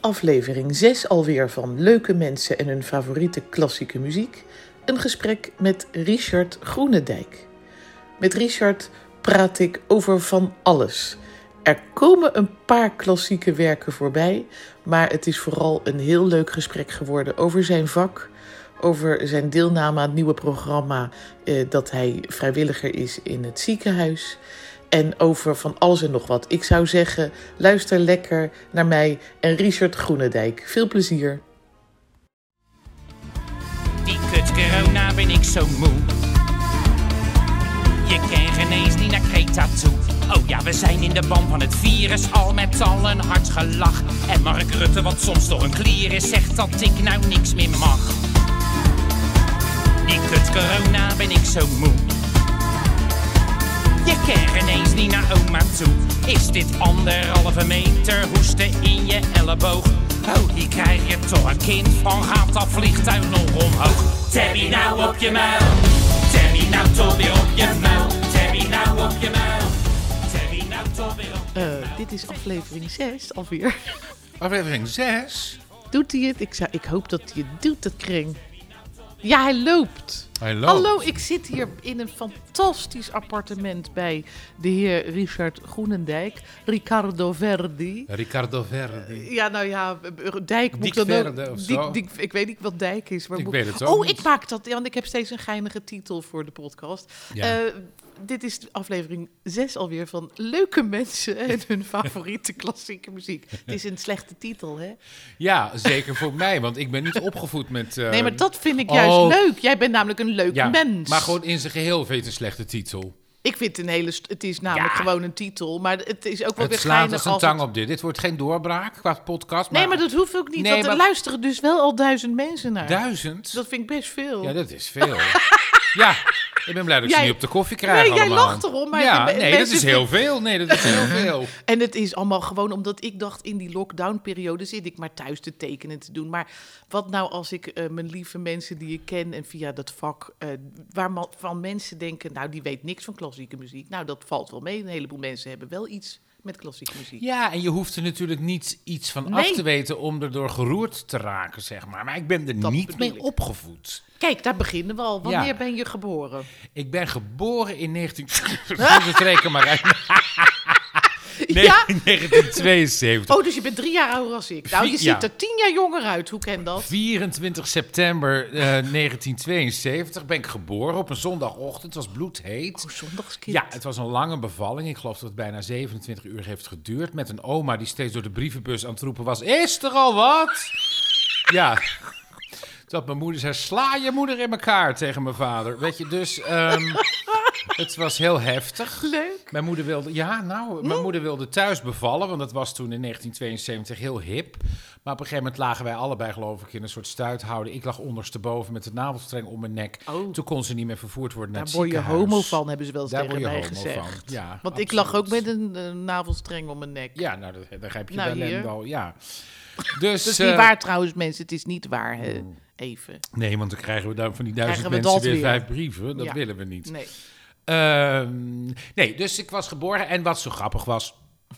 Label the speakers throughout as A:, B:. A: aflevering 6 alweer van Leuke Mensen en hun favoriete klassieke muziek. Een gesprek met Richard Groenendijk. Met Richard praat ik over van alles. Er komen een paar klassieke werken voorbij, maar het is vooral een heel leuk gesprek geworden over zijn vak, over zijn deelname aan het nieuwe programma eh, dat hij vrijwilliger is in het ziekenhuis. En over van alles en nog wat. Ik zou zeggen, luister lekker naar mij en Richard Groenendijk. Veel plezier.
B: Die kut corona ben ik zo moe. Je kan geen eens die naar Kreta toe. Oh ja, we zijn in de ban van het virus al met al een hard gelach. En Mark Rutte, wat soms door een klier is, zegt dat ik nou niks meer mag. Die kut corona ben ik zo moe. Je kan ineens niet naar oma toe. Is dit anderhalve meter hoesten in je elleboog? Oh, hier krijg je toch een kind van. Gaat dat vliegtuig nog omhoog? Tabby nou op je muil. Tabby nou toch weer op je muil. Tabby nou op je muil. Tabby nou toch weer op je muil.
A: Eh, dit is aflevering 6 alweer.
C: Aflevering 6.
A: Doet hij het? Ik, zou, ik hoop dat hij het doet, dat kring. Ja, hij loopt.
C: Hij loopt.
A: Hallo, ik zit hier in een fantastisch appartement bij de heer Richard Groenendijk. Ricardo Verdi.
C: Ricardo Verdi.
A: Ja, nou ja, Dijk moet
C: Dick
A: dan
C: Verde
A: ook...
C: of
A: Dick-
C: zo.
A: Dick- ik weet niet wat Dijk is. Maar
C: Ik
A: moet-
C: weet het ook
A: Oh,
C: niet.
A: ik maak dat, want ik heb steeds een geinige titel voor de podcast.
C: Ja.
A: Eh, dit is aflevering 6 alweer van Leuke Mensen en hun favoriete klassieke muziek. Het is een slechte titel, hè?
C: Ja, zeker voor mij, want ik ben niet opgevoed met... eh,
A: Nee, maar dat vind ik juist
C: oh.
A: leuk. Jij bent namelijk een leuk
C: ja,
A: mens.
C: Maar gewoon in zijn geheel vind je het een slechte titel.
A: Ik vind het een hele... st- Het is namelijk
C: Ja.
A: gewoon een titel, maar het is ook wel
C: Het
A: weer
C: slaat
A: geinig
C: als een
A: als
C: tang
A: het-
C: op dit. Dit wordt geen doorbraak qua podcast, maar,
A: Nee, maar dat hoeft ook niet,
C: Nee,
A: want er
C: maar-
A: luisteren dus wel al duizend mensen naar.
C: duizend.
A: Dat vind ik best veel.
C: Ja, dat is veel. ja, ik ben blij dat ik ze
A: Jij-
C: niet op de koffie krijg
A: Nee, jij
C: allemaal.
A: lacht erom, maar
C: ja,
A: de me-
C: nee, dat
A: mensen
C: is heel veel. Nee, dat is heel veel.
A: En het is allemaal gewoon omdat ik dacht in die lockdownperiode zit ik maar thuis te tekenen te doen. Maar wat nou als ik eh, mijn lieve mensen die ik ken en via dat vak, eh waarvan mensen denken, nou die weet niks van klassieke muziek. Nou dat valt wel mee, een heleboel mensen hebben wel iets met klassieke muziek.
C: Ja, en je hoeft er natuurlijk niet iets van af
A: Nee.
C: te weten om erdoor geroerd te raken, zeg maar. Maar ik ben er
A: Dat
C: niet
A: bedoel
C: mee
A: ik.
C: opgevoed.
A: Kijk, daar beginnen we al. Wanneer
C: Ja.
A: ben je geboren?
C: Ik ben geboren in 19... Dat reken maar uit. Nee,
A: Ja?
C: 1972.
A: Oh, dus je bent drie jaar ouder als ik. Nou, je
C: Ja.
A: ziet er tien jaar jonger uit. Hoe ken dat?
C: 24 september eh, 1972 ben ik geboren op een zondagochtend. Het was bloedheet.
A: Oh, zondagskind.
C: Ja, het was een lange bevalling. Ik geloof dat het bijna 27 uur heeft geduurd. Met een oma die steeds door de brievenbus aan het roepen was: Is er al wat? ja. Dat mijn moeder zei: Sla je moeder in elkaar tegen mijn vader. Weet je, dus ehm, het was heel heftig.
A: Leuk.
C: Mijn moeder wilde, ja, nou, mijn moeder wilde thuis bevallen, want dat was toen in 1972 heel hip. Maar op een gegeven moment lagen wij allebei, geloof ik, in een soort stuithouden. Ik lag ondersteboven met de navelstreng om mijn nek.
A: Oh.
C: Toen kon ze niet meer vervoerd worden naar
A: Daar
C: het
A: word je
C: ziekenhuis.
A: homo van, hebben ze wel eens
C: Daar
A: tegen
C: word je
A: mij
C: homo
A: gezegd.
C: van, ja,
A: Want ik lag ook
C: absoluut.
A: met een eh, navelstreng om mijn nek.
C: Ja, nou, dat, daar heb je
A: Nou,
C: wel
A: hier.
C: en wel, ja. Dus,
A: Dat is niet
C: eh,
A: waar trouwens, mensen. Het is niet waar, hè? Even.
C: Nee, want dan krijgen we daar van die duizend
A: Krijgen we
C: mensen
A: dat
C: weer,
A: weer.
C: vijf brieven. Dat
A: Ja.
C: willen we niet.
A: Nee.
C: Ehm, nee, dus ik was geboren en wat zo grappig was.
A: Hm.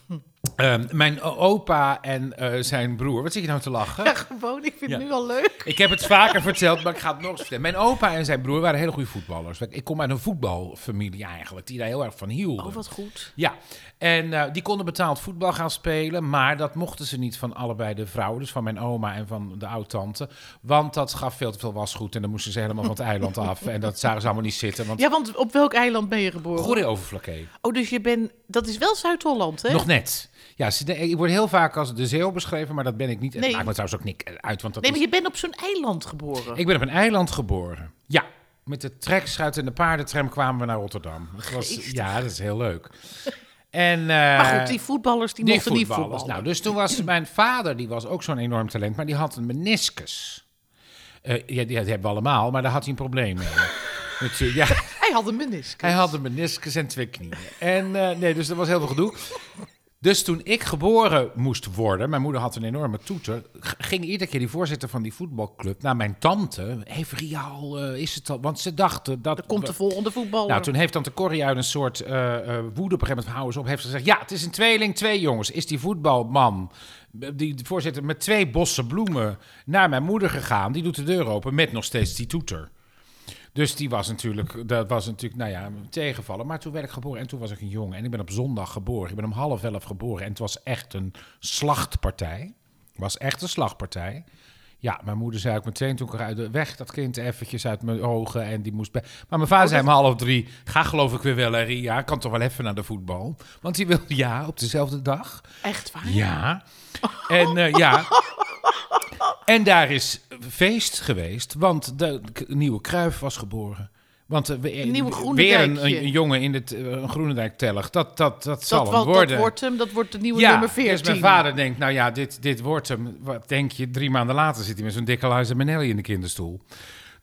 C: ehm, mijn o- opa en eh, zijn broer. Wat zit je nou te lachen?
A: Ja, gewoon, ik vind het
C: Ja.
A: nu al leuk.
C: Ik heb het vaker verteld, maar ik ga het nog eens vertellen. Mijn opa en zijn broer waren hele goede voetballers. Ik kom uit een voetbalfamilie eigenlijk, die daar heel erg van hielden.
A: Oh, wat goed.
C: Ja, en eh, die konden betaald voetbal gaan spelen, maar dat mochten ze niet van allebei de vrouwen, dus van mijn oma en van de oud-tante. Want dat gaf veel te veel wasgoed en dan moesten ze helemaal van het eiland af. En dat zagen ze allemaal niet zitten, want
A: Ja, want op welk eiland ben je geboren?
C: goede overflakkee.
A: Oh, dus je bent... Dat is wel Zuid-Holland, hè?
C: Nog net. Ja, ze- nee, ik word heel vaak als de zeeuw beschreven, maar dat ben ik niet. Het
A: Nee.
C: maakt me trouwens ook niet uit, want dat
A: Nee,
C: is...
A: maar je bent op zo'n eiland geboren.
C: Ik ben op een eiland geboren. Ja, met de trekschuit en de paardentram kwamen we naar Rotterdam. Het was,
A: Geestig.
C: ja, dat is heel leuk. En, eh,
A: maar goed, die voetballers, die,
C: die
A: mochten niet
C: voetballers.
A: voetballen.
C: Nou, dus toen was mijn vader, die was ook zo'n enorm talent, maar die had een meniscus. Eh, ja, die, die hebben we allemaal, maar daar had hij een probleem mee. Met, eh, ja,
A: Hij had een meniscus.
C: hij had een meniscus en twee knieën. En eh, nee, dus dat was heel veel gedoe. Dus toen ik geboren moest worden, mijn moeder had een enorme toeter, g- ging iedere keer die voorzitter van die voetbalclub naar mijn tante. Even Riaal, eh, is het al? Want ze dachten dat.
A: Er komt de volgende voetballer.
C: Nou, toen heeft tante Corrie uit een soort eh, eh, woede op een gegeven moment, hou eens op, heeft ze gezegd, ja, het is een tweeling, twee jongens. Is die voetbalman, eh, die voorzitter, met twee bossen bloemen naar mijn moeder gegaan. Die doet de deur open met nog steeds die toeter. Dus die was natuurlijk, dat was natuurlijk, nou ja, tegenvallen. Maar toen werd ik geboren en toen was ik een jongen. En ik ben op zondag geboren. Ik ben om half elf geboren. En het was echt een slachtpartij. Het was echt een slachtpartij. Ja, mijn moeder zei ook meteen toen ik eruit weg dat kind eventjes uit mijn ogen en die moest bij. Maar mijn
A: Oh,
C: vader zei om half drie: ga geloof ik weer wel, hè, Ria. Kan toch wel even naar de voetbal? Want die wilde ja op dezelfde dag.
A: Echt waar?
C: Ja. En eh, ja. En daar is feest geweest, want de k- nieuwe Kruif was geboren. Want eh, we-
A: nieuwe
C: weer
A: Groenendijkje.
C: een, een jongen in het eh, een Groenendijk-tellig, dat, dat, dat zal
A: Dat,
C: hem
A: wa-
C: worden.
A: dat wordt hem, dat wordt de nieuwe
C: ja,
A: nummer 14.
C: dus mijn vader denkt, nou ja, dit, dit wordt hem. Wat denk je, drie maanden later zit hij met zo'n dikke luis en Benelli in de kinderstoel.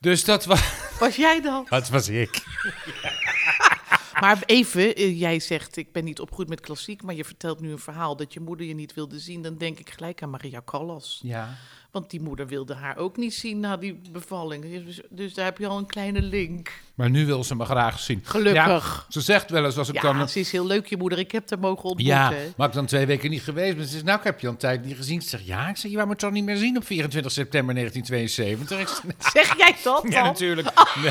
C: Dus dat was,
A: Was jij dan?
C: dat was ik.
A: Maar even, eh, jij zegt, ik ben niet opgegroeid met klassiek, maar je vertelt nu een verhaal dat je moeder je niet wilde zien. Dan denk ik gelijk aan Maria Callas.
C: Ja.
A: Want die moeder wilde haar ook niet zien na die bevalling. Dus, dus daar heb je al een kleine link.
C: Maar nu wil ze me graag zien.
A: Gelukkig.
C: Ja, ze zegt wel eens, als ik
A: Ja,
C: dan...
A: ze is heel leuk, je moeder. Ik heb haar mogen ontmoeten.
C: Ja, maar ik dan twee weken niet geweest ben. Ze zegt, nou, ik heb je al een tijd niet gezien. Ik zeg, ja, ik zeg, je wou me toch niet meer zien op 24 september 1972? Ik zeg, nee,
A: Zeg jij dat dan?
C: ja, natuurlijk. Nee,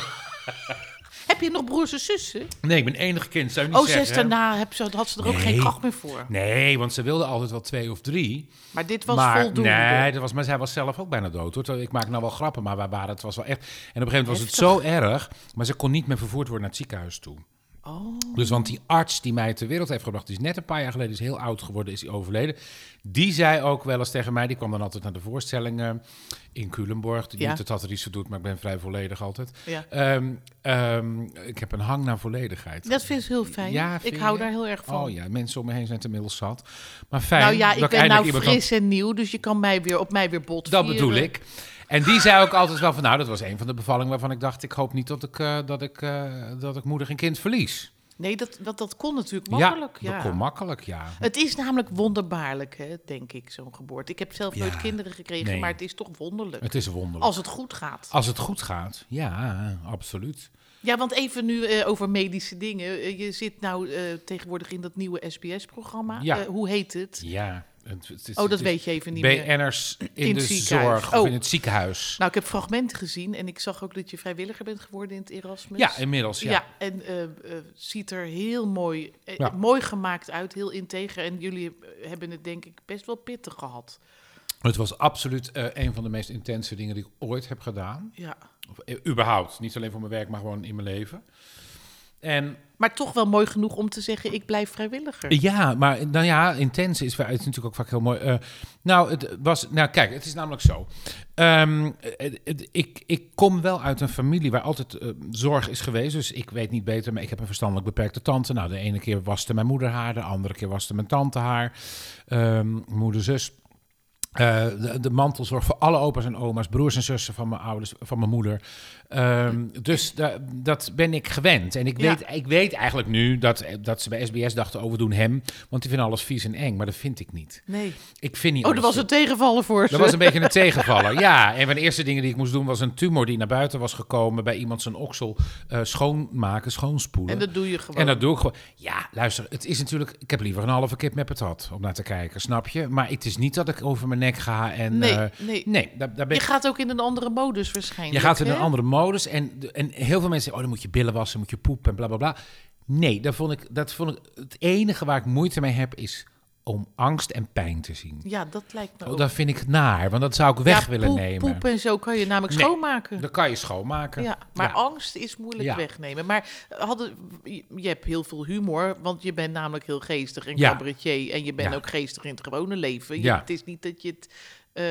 A: Heb je nog broers en zussen?
C: nee, ik ben enig kind, zou je niet
A: Oh,
C: zeggen.
A: zes daarna heb ze, had ze er ook
C: Nee.
A: geen kracht meer voor.
C: Nee, want ze wilde altijd wel twee of drie.
A: Maar dit was
C: maar,
A: voldoende.
C: Nee, dat was, maar zij was zelf ook bijna dood. Hoor. Ik maak nou wel grappen, maar wij waren, het was wel echt... En op een gegeven moment was het zo erg, maar ze kon niet meer vervoerd worden naar het ziekenhuis toe.
A: Oh.
C: Dus want die arts die mij ter wereld heeft gebracht, die is net een paar jaar geleden, is heel oud geworden, is hij overleden. Die zei ook wel eens tegen mij, die kwam dan altijd naar de voorstellingen in Culemborg.
A: Ja.
C: Niet dat dat er iets zo doet, maar ik ben vrij volledig altijd.
A: Ja.
C: Ehm, ehm, ik heb een hang naar volledigheid.
A: Dat vind ik heel fijn.
C: Ja, vind
A: ik hou
C: je?
A: daar heel erg van.
C: Oh ja, mensen om me heen zijn het inmiddels zat. Maar fijn
A: Nou ja,
C: dat
A: ik ben
C: eindelijk
A: nou
C: iemand had-
A: fris en nieuw, dus je kan mij weer, op mij weer bot
C: dat
A: vieren.
C: bedoel ik. En die zei ook altijd wel van, nou, dat was een van de bevallingen waarvan ik dacht, ik hoop niet dat ik, eh, dat ik, eh, dat ik moeder en kind verlies.
A: Nee, dat, dat, dat kon natuurlijk makkelijk. Ja,
C: dat kon makkelijk, ja.
A: Het is namelijk wonderbaarlijk, hè, denk ik, zo'n geboorte. Ik heb zelf nooit
C: Ja,
A: kinderen gekregen,
C: nee.
A: maar het is toch wonderlijk.
C: Het is Oh. wonderlijk.
A: Als het goed gaat.
C: Als het goed gaat, ja, absoluut.
A: Ja, want even nu eh, over medische dingen. Eh, je zit nou eh, tegenwoordig in dat nieuwe SBS-programma.
C: Ja.
A: Eh, hoe heet het?
C: Ja. Het, het is-
A: Oh, dat
C: het is
A: weet je even niet meer.
C: BN'ers in,
A: In
C: de
A: het ziekenhuis.
C: zorg of
A: Oh.
C: in het ziekenhuis.
A: Nou, ik heb fragmenten gezien en ik zag ook dat je vrijwilliger bent geworden in het Erasmus.
C: Ja, inmiddels, ja.
A: Ja, en eh, eh, ziet er heel mooi, eh,
C: Ja.
A: mooi gemaakt uit, heel integer. En jullie eh, hebben het denk ik best wel pittig gehad.
C: Het was absoluut eh, een van de meest intense dingen die ik ooit heb gedaan.
A: Ja.
C: Of, eh, überhaupt, niet alleen voor mijn werk, maar gewoon in mijn leven. En
A: Maar toch wel mooi genoeg om te zeggen, ik blijf vrijwilliger.
C: Ja, maar nou ja, intens is, het is natuurlijk ook vaak heel mooi. Eh, nou, het was, nou, kijk, het is namelijk zo. Ehm, het- het- ik, ik kom wel uit een familie waar altijd eh, zorg is geweest. Dus ik weet niet beter, maar ik heb een verstandelijk beperkte tante. Nou, de ene keer waste mijn moeder haar, de andere keer waste mijn tante haar. Ehm, moeder, zus. Eh, de, de mantelzorg voor alle opa's en oma's, broers en zussen van mijn ouders, van mijn moeder. Ehm, dus da- dat ben ik gewend. En ik
A: Ja.
C: weet, ik weet eigenlijk nu dat, eh, dat ze bij SBS dachten, oh, we doen hem. Want die vinden alles vies en eng, maar dat vind ik niet.
A: Nee.
C: Ik vind niet
A: Oh, dat
C: alles
A: was een tegenvallen voor ze.
C: dat was een beetje een tegenvaller, ja. En een van de eerste dingen die ik moest doen was een tumor die naar buiten was gekomen bij iemand zijn oksel eh, schoonmaken, schoonspoelen.
A: En dat doe je gewoon.
C: En dat doe ik gewoon. Ja, luister, het is natuurlijk. Ik heb liever een halve kip met patat om naar te kijken, snap je? Maar het is niet dat ik over mijn nek ga en.
A: Nee,
C: eh,
A: nee.
C: nee daar, daar ben
A: Je
C: ik.
A: gaat ook in een andere modus waarschijnlijk.
C: Je gaat in
A: hè?
C: een andere modus en, de- en heel veel mensen zeggen: oh, dan moet je billen wassen, moet je poepen en bla bla bla. Nee, dat vond ik, dat vond ik. Het enige waar ik moeite mee heb is om angst en pijn te zien.
A: Ja, dat lijkt me
C: Oh,
A: ook.
C: dat vind ik naar, want dat zou ik weg
A: Ja,
C: willen
A: poep,
C: nemen.
A: Poep en zo kan je namelijk
C: Nee.
A: schoonmaken.
C: Dat kan je schoonmaken.
A: Ja, maar
C: Ja.
A: angst is moeilijk
C: Ja.
A: wegnemen. Maar hadden, je- je hebt heel veel humor, want je bent namelijk heel geestig en
C: Ja.
A: cabaretier. En je bent
C: Ja.
A: ook geestig in het gewone leven. Je-
C: Ja.
A: Het is niet dat je het eh,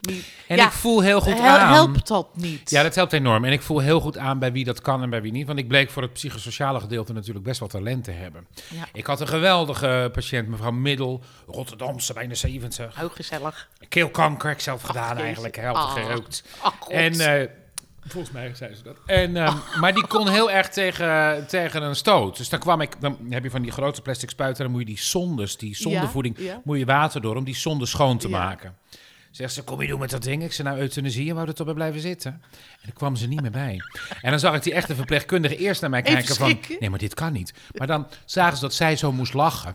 A: niet...
C: En
A: ja,
C: ik voel heel goed
A: hel-
C: aan.
A: helpt dat niet?
C: Ja, dat helpt enorm. En ik voel heel goed aan bij wie dat kan en bij wie niet. Want ik bleek voor het psychosociale gedeelte natuurlijk best wel talent te hebben.
A: Ja.
C: Ik had een geweldige patiënt, mevrouw Middel, Rotterdamse, bijna 70.
A: Heel gezellig.
C: Keelkanker, ik zelf gedaan
A: jezus.
C: eigenlijk, helft
A: Ah.
C: gerookt.
A: Ach, God. Oh.
C: En eh, Volgens mij zei ze dat. En, ehm, Maar die kon heel erg tegen, tegen een stoot. Dus dan kwam ik, dan heb je van die grote plastic spuiten, dan moet je die zondes, die zondevoeding,
A: Ja, ja.
C: moet je water door om die zonde schoon te
A: Ja.
C: maken. Zegt ze, kom je doen met dat ding? Ik zei, nou, euthanasie, je wou er toch bij blijven zitten? En dan kwam ze niet meer bij. En dan zag ik die echte verpleegkundige eerst naar mij
A: Even
C: kijken van...
A: schrikken.
C: Nee, maar dit kan niet. Maar dan zagen ze dat zij zo moest lachen.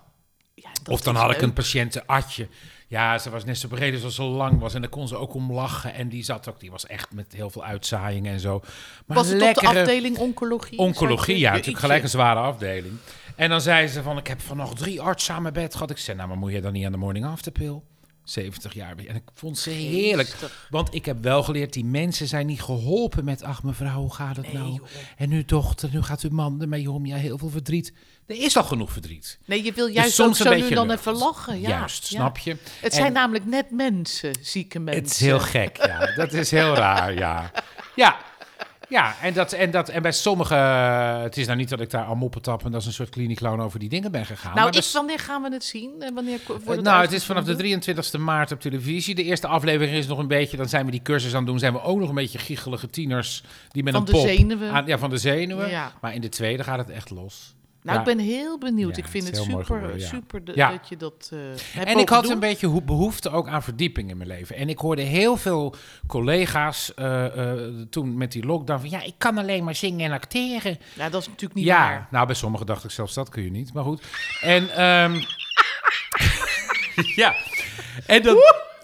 A: Ja, dat
C: Of dan
A: is
C: had ik
A: leuk.
C: een patiënte, Atje. Ja, ze was net zo breed als ze lang was. En daar kon ze ook om lachen. En die zat ook, die was echt met heel veel uitzaaiingen en zo. Maar
A: Was het op
C: lekkere
A: de afdeling oncologie?
C: oncologie, ja, natuurlijk gelijk een
A: eens.
C: zware afdeling. En dan zei ze van, ik heb vanochtend drie artsen aan mijn bed gehad. Ik zei, nou, maar moet je dan niet aan de morning after pil? 70 jaar. En ik vond ze heerlijk.
A: Geestig.
C: Want ik heb wel geleerd, die mensen zijn niet geholpen met... ach mevrouw, hoe gaat het nou?
A: joh.
C: En uw dochter, nu gaat uw man ermee om. Ja, heel veel verdriet. Er is al genoeg verdriet.
A: Nee, je wil
C: Dus
A: juist ook
C: soms
A: zo
C: een
A: nu
C: beetje
A: dan
C: lucht.
A: even lachen. Ja,
C: Juist,
A: ja.
C: snap je?
A: Het
C: En-
A: zijn namelijk net mensen, zieke mensen.
C: Het is heel gek, ja. Dat is heel raar, ja. Ja, ja en, dat, en, dat, en bij sommige... Het is nou niet dat ik daar al moppen tap en dat is een soort kliniekloon over die dingen ben gegaan.
A: Nou,
C: maar bij
A: ik, wanneer gaan we het zien? En wanneer ko- wordt
C: Eh,
A: het
C: nou, het is vanaf
A: uitgezonden?
C: de 23e maart op televisie. De eerste aflevering is nog een beetje. Dan zijn we die cursus aan het doen. Zijn we ook nog een beetje giechelige tieners die met
A: Van
C: een
A: de
C: pop
A: zenuwen.
C: aan- ja, van de zenuwen.
A: Ja.
C: Maar in de tweede gaat het echt los.
A: Nou,
C: Ja.
A: ik ben heel benieuwd.
C: Ja,
A: ik vind
C: het
A: het,
C: is heel mooi
A: super,
C: geworden, ja.
A: super de-
C: Ja.
A: dat je dat eh hebt
C: en ik
A: mogen
C: had
A: doen.
C: een beetje hoe- behoefte ook aan verdieping in mijn leven. En ik hoorde heel veel collega's eh, eh, toen met die lockdown van... ja, ik kan alleen maar zingen en acteren.
A: Ja, Nou, dat is natuurlijk niet
C: ja,
A: waar.
C: nou bij sommigen dacht ik zelfs dat kun je niet, maar goed. En ehm, ja, en dan,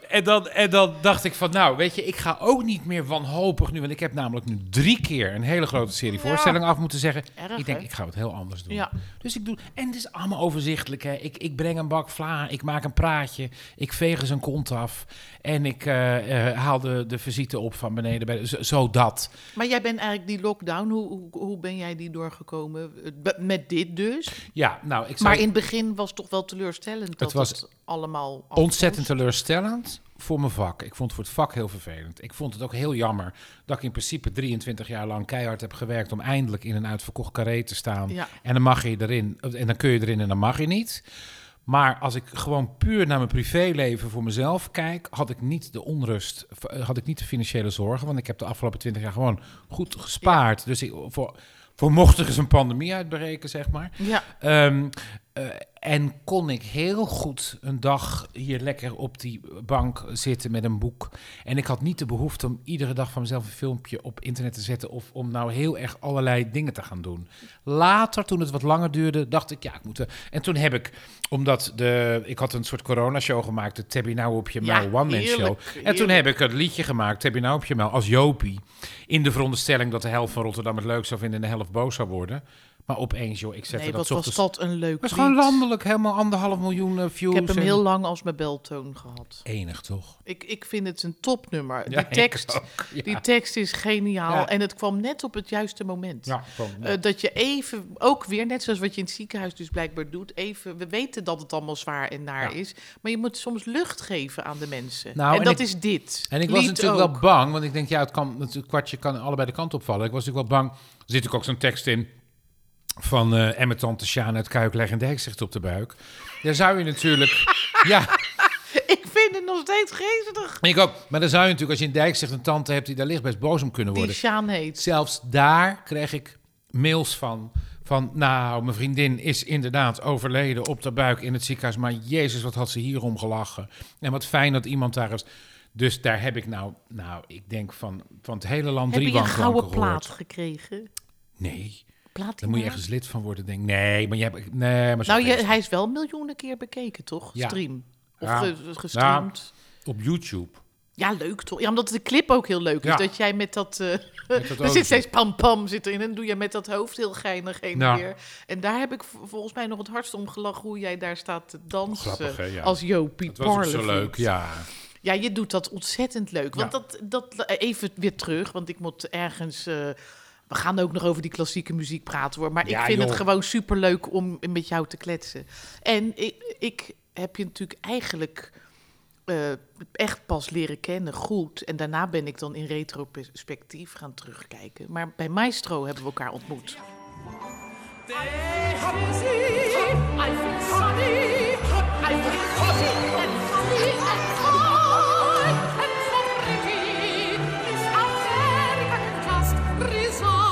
C: en, dan, en dan dacht ik van, nou weet je, ik ga ook niet meer wanhopig nu, want ik heb namelijk nu drie keer een hele grote serie voorstellingen af moeten zeggen.
A: Erg,
C: ik denk,
A: hè?
C: ik ga het heel anders doen.
A: Ja.
C: Dus ik doe, en het is allemaal overzichtelijk. Hè. Ik, ik breng een bak vla, ik maak een praatje, ik veeg eens een kont af en ik eh, eh, haal de, de visite op van beneden, bij de- zo- zodat.
A: Maar jij bent eigenlijk die lockdown, hoe, hoe, hoe ben jij die doorgekomen? Eh, be- Met dit dus.
C: Ja, nou, ik zou
A: Maar in het begin was het toch wel teleurstellend dat het,
C: was
A: allemaal... af moest.
C: Ontzettend teleurstellend voor mijn vak. Ik vond het voor het vak heel vervelend. Ik vond het ook heel jammer dat ik in principe 23 jaar lang keihard heb gewerkt om eindelijk in een uitverkocht carré te staan.
A: Ja.
C: En dan mag je erin, en dan kun je erin en dan mag je niet. Maar als ik gewoon puur naar mijn privéleven voor mezelf kijk, had ik niet de onrust, eh, had ik niet de financiële zorgen, want ik heb de afgelopen 20 jaar gewoon goed gespaard. Dus ik, voor, voor mocht er eens een pandemie uitbreken, zeg maar.
A: Ja,
C: Ehm, eh, en kon ik heel goed een dag hier lekker op die bank zitten met een boek. En ik had niet de behoefte om iedere dag van mezelf een filmpje op internet te zetten. Of om nou heel erg allerlei dingen te gaan doen. Later, toen het wat langer duurde, dacht ik, ja, ik moet... wel- En toen heb ik, omdat de, ik had een soort coronashow gemaakt, de Tabby Now op je
A: Ja,
C: Mouw One Man Show.
A: heerlijk,
C: En toen
A: heerlijk.
C: heb ik het liedje gemaakt, Tabby Now op je Mouw, als Jopie. In de veronderstelling dat de helft van Rotterdam het leuk zou vinden en de helft boos zou worden. Maar opeens, joh, ik zette
A: nee,
C: dat
A: wat
C: ochtends
A: was dat een leuk
C: het is
A: lied.
C: gewoon landelijk, helemaal anderhalf miljoen eh,
A: Ik
C: views.
A: heb hem
C: en-
A: heel lang als mijn beltoon gehad.
C: Enig, toch?
A: Ik, ik vind het een topnummer.
C: Ja,
A: die, tekst,
C: ik ook, ja.
A: die tekst is geniaal.
C: Ja.
A: En het kwam net op het juiste moment.
C: Ja, gewoon, ja.
A: Eh, dat je even, ook weer, net zoals wat je in het ziekenhuis dus blijkbaar doet, even, we weten dat het allemaal zwaar en naar
C: Ja.
A: is, maar je moet soms lucht geven aan de mensen.
C: Nou,
A: en,
C: en
A: dat
C: ik-
A: is dit.
C: en ik was
A: Lied
C: natuurlijk
A: ook.
C: wel bang, want ik denk, ja, het, kan, het kwartje kan allebei de kant opvallen. Ik was natuurlijk wel bang. Er zit ook, ook zo'n tekst in van eh Emmet Tante Sjaan uit Kuik leggen de heks op de buik. Daar zou je natuurlijk... ja,
A: Ik vind het nog steeds geestig.
C: ik ook. Maar dan zou je natuurlijk, als je in Dijkzicht een tante hebt die daar ligt, best boos om kunnen
A: Die
C: worden.
A: Sjaan heet.
C: Zelfs daar kreeg ik mails van. Van, nou, mijn vriendin is inderdaad overleden op de buik in het ziekenhuis. Maar jezus, wat had ze hierom gelachen. En wat fijn dat iemand daar is. Dus daar heb ik nou, nou, ik denk van, van het hele land
A: Heb
C: drie
A: je een
C: wanklanken
A: gouden plaat
C: gehoord.
A: gekregen?
C: Nee,
A: Plaat
C: daar moet je ergens lid van worden. Denk, ik. nee, maar je hebt, nee, maar zo
A: Nou, je,
C: geest.
A: hij is wel miljoenen keer bekeken, toch?
C: Ja.
A: Stream. Of
C: Ja.
A: ge- gestreamd.
C: op YouTube.
A: Ja, leuk toch? Ja, omdat de clip ook heel leuk is.
C: Ja.
A: Dat jij met dat... eh er
C: autootje.
A: zit steeds pam-pam zit erin. En doe je met dat hoofd heel geinig heen en
C: Ja.
A: weer. En daar heb ik v- volgens mij nog het hardst om gelachen... hoe jij daar staat te dansen
C: Grappig, hè, ja.
A: als Jopie
C: Dat was ook zo
A: Parlevoet.
C: leuk, ja.
A: Ja, je doet dat ontzettend leuk. Want
C: Ja.
A: dat, dat, even weer terug, want ik moet ergens... eh, we gaan ook nog over die klassieke muziek praten hoor. Maar
C: Ja,
A: ik vind het
C: joh.
A: gewoon superleuk om met jou te kletsen. En ik, ik heb je natuurlijk eigenlijk eh, echt pas leren kennen, goed. En daarna ben ik dan in retrospectief gaan terugkijken. Maar bij Maestro hebben we elkaar ontmoet.
D: They haben sie, Alfred Sonny, Alfred Sonny, and Sonny, and Sonny, and Sonny, is Amerika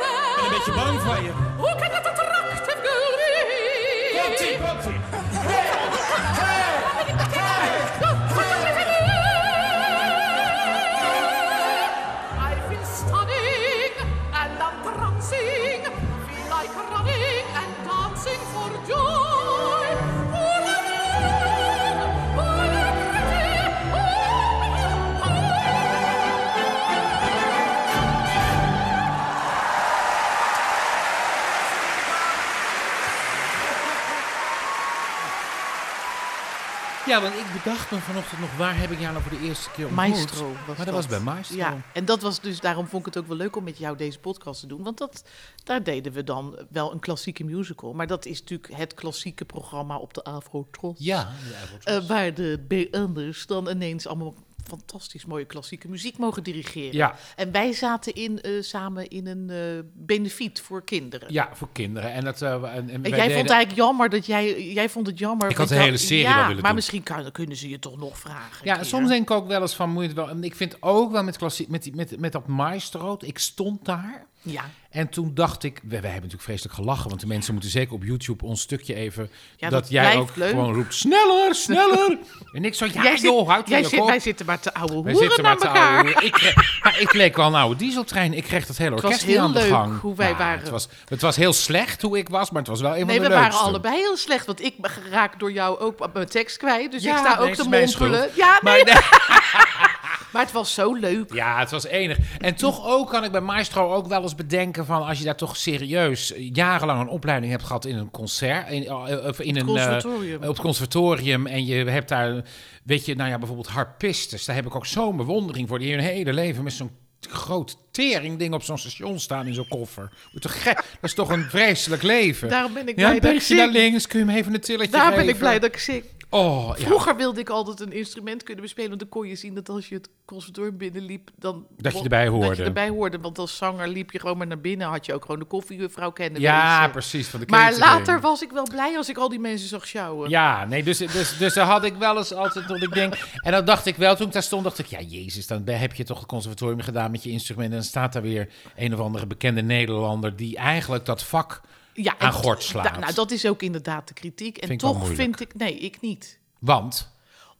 B: van je.
D: Hoe kan dat attractief girlie?
B: Komt-ie, komt-ie.
D: I've been studying and I'm prancing, feel like running and dancing for joy. Oh, la, la, la, la, oh, la, pretty, oh, oh, oh.
C: Ja, want ik bedacht me vanochtend nog, waar heb ik jou nou voor de eerste keer ontmoet?
A: Maestro was
C: Maar dat, was bij Maestro.
A: Ja, en dat was dus, daarom vond ik het ook wel leuk om met jou deze podcast te doen. Want dat, daar deden we dan wel een klassieke musical. Maar dat is natuurlijk het klassieke programma op de Afro-Tros.
C: Ja, de Avondtros.
A: Eh, waar de BN'ers dan ineens allemaal fantastisch mooie klassieke muziek mogen dirigeren.
C: ja,
A: En wij zaten in, eh, samen in een eh, benefiet voor kinderen.
C: ja, voor kinderen. En, dat, eh, en, en wij
A: En jij
C: deden-
A: vond het eigenlijk jammer dat jij, jij vond het jammer.
C: Ik
A: want
C: had de hele
A: jou-
C: serie
A: ja,
C: wel willen
A: maar
C: doen.
A: misschien kan, kunnen ze je toch nog vragen. een
C: Ja,
A: keer.
C: soms denk ik ook wel eens van, moet je het wel... En ik vind ook wel met, klassie, met, die- met, met dat maestro, ik stond daar...
A: Ja,
C: En toen dacht ik, we, wij hebben natuurlijk vreselijk gelachen, want de mensen moeten zeker op YouTube ons stukje even.
A: Ja,
C: dat,
A: dat
C: jij
A: blijft
C: ook
A: leuk.
C: gewoon roept: sneller, sneller. en ik zo, ja,
A: jij
C: joh,
A: zit,
C: houd
A: jij
C: je
A: zit,
C: kop.
A: Wij zitten maar te oude
C: Wij
A: hoeren naar
C: te
A: elkaar.
C: ouwe hoeren. Ik, kreeg- maar ik leek wel een oude dieseltrein. Ik kreeg dat hele
A: was
C: orkest niet
A: heel
C: aan de
A: leuk
C: gang.
A: hoe wij
C: Maar
A: waren.
C: Het was, het was heel slecht hoe ik was, maar het was wel een van
A: Nee,
C: de
A: we
C: leukste.
A: waren allebei heel slecht, want ik raak door jou ook mijn tekst kwijt. Dus
C: Ja,
A: ik sta
C: nee,
A: ook
C: het is
A: te
C: mijn
A: mompelen.
C: schuld.
A: Ja,
C: Maar
A: nee,
C: nee,
A: maar het was zo leuk.
C: ja, het was enig. En toch ook kan ik bij Maestro ook wel eens bedenken van... als je daar toch serieus jarenlang een opleiding hebt gehad in een concert... In, of in een, eh,
A: Conservatorium.
C: op het conservatorium en je hebt daar, weet je, nou ja, bijvoorbeeld harpistes. Daar heb ik ook zo'n bewondering voor. Die hun hele leven met zo'n groot teringding op zo'n station staan in zo'n koffer. Hoe te gek. Dat is toch een vreselijk leven.
A: Daarom ben ik
C: ja,
A: blij
C: een
A: dat ik
C: beetje naar
A: zing.
C: links, kun je hem even een tilletje
A: Daar ben
C: geven.
A: ik blij dat ik zing.
C: Oh, ja.
A: Vroeger wilde ik altijd een instrument kunnen bespelen. Want dan kon je zien dat als je het conservatorium binnenliep... Dan,
C: Dat je erbij
A: Dat
C: hoorde.
A: je erbij hoorde. Want als zanger liep je gewoon maar naar binnen. Had je ook gewoon de koffiejuffrouw kennen.
C: Ja,
A: wezen.
C: precies. Van de
A: Maar
C: catering.
A: later was ik wel blij als ik al die mensen zag sjouwen.
C: Ja, nee, dus, dus, dus daar had ik wel eens altijd dat ik denk... En dan dacht ik wel, toen ik daar stond, dacht ik... Ja, jezus, dan heb je toch het conservatorium gedaan met je instrumenten... en dan staat daar weer een of andere bekende Nederlander... die eigenlijk dat vak
A: Ja,
C: aan
A: en-
C: gort slaat.
A: da- nou, dat is ook inderdaad de kritiek. En
C: Vind ik wel
A: toch
C: moeilijk.
A: vind ik... Nee, ik niet.
C: Want,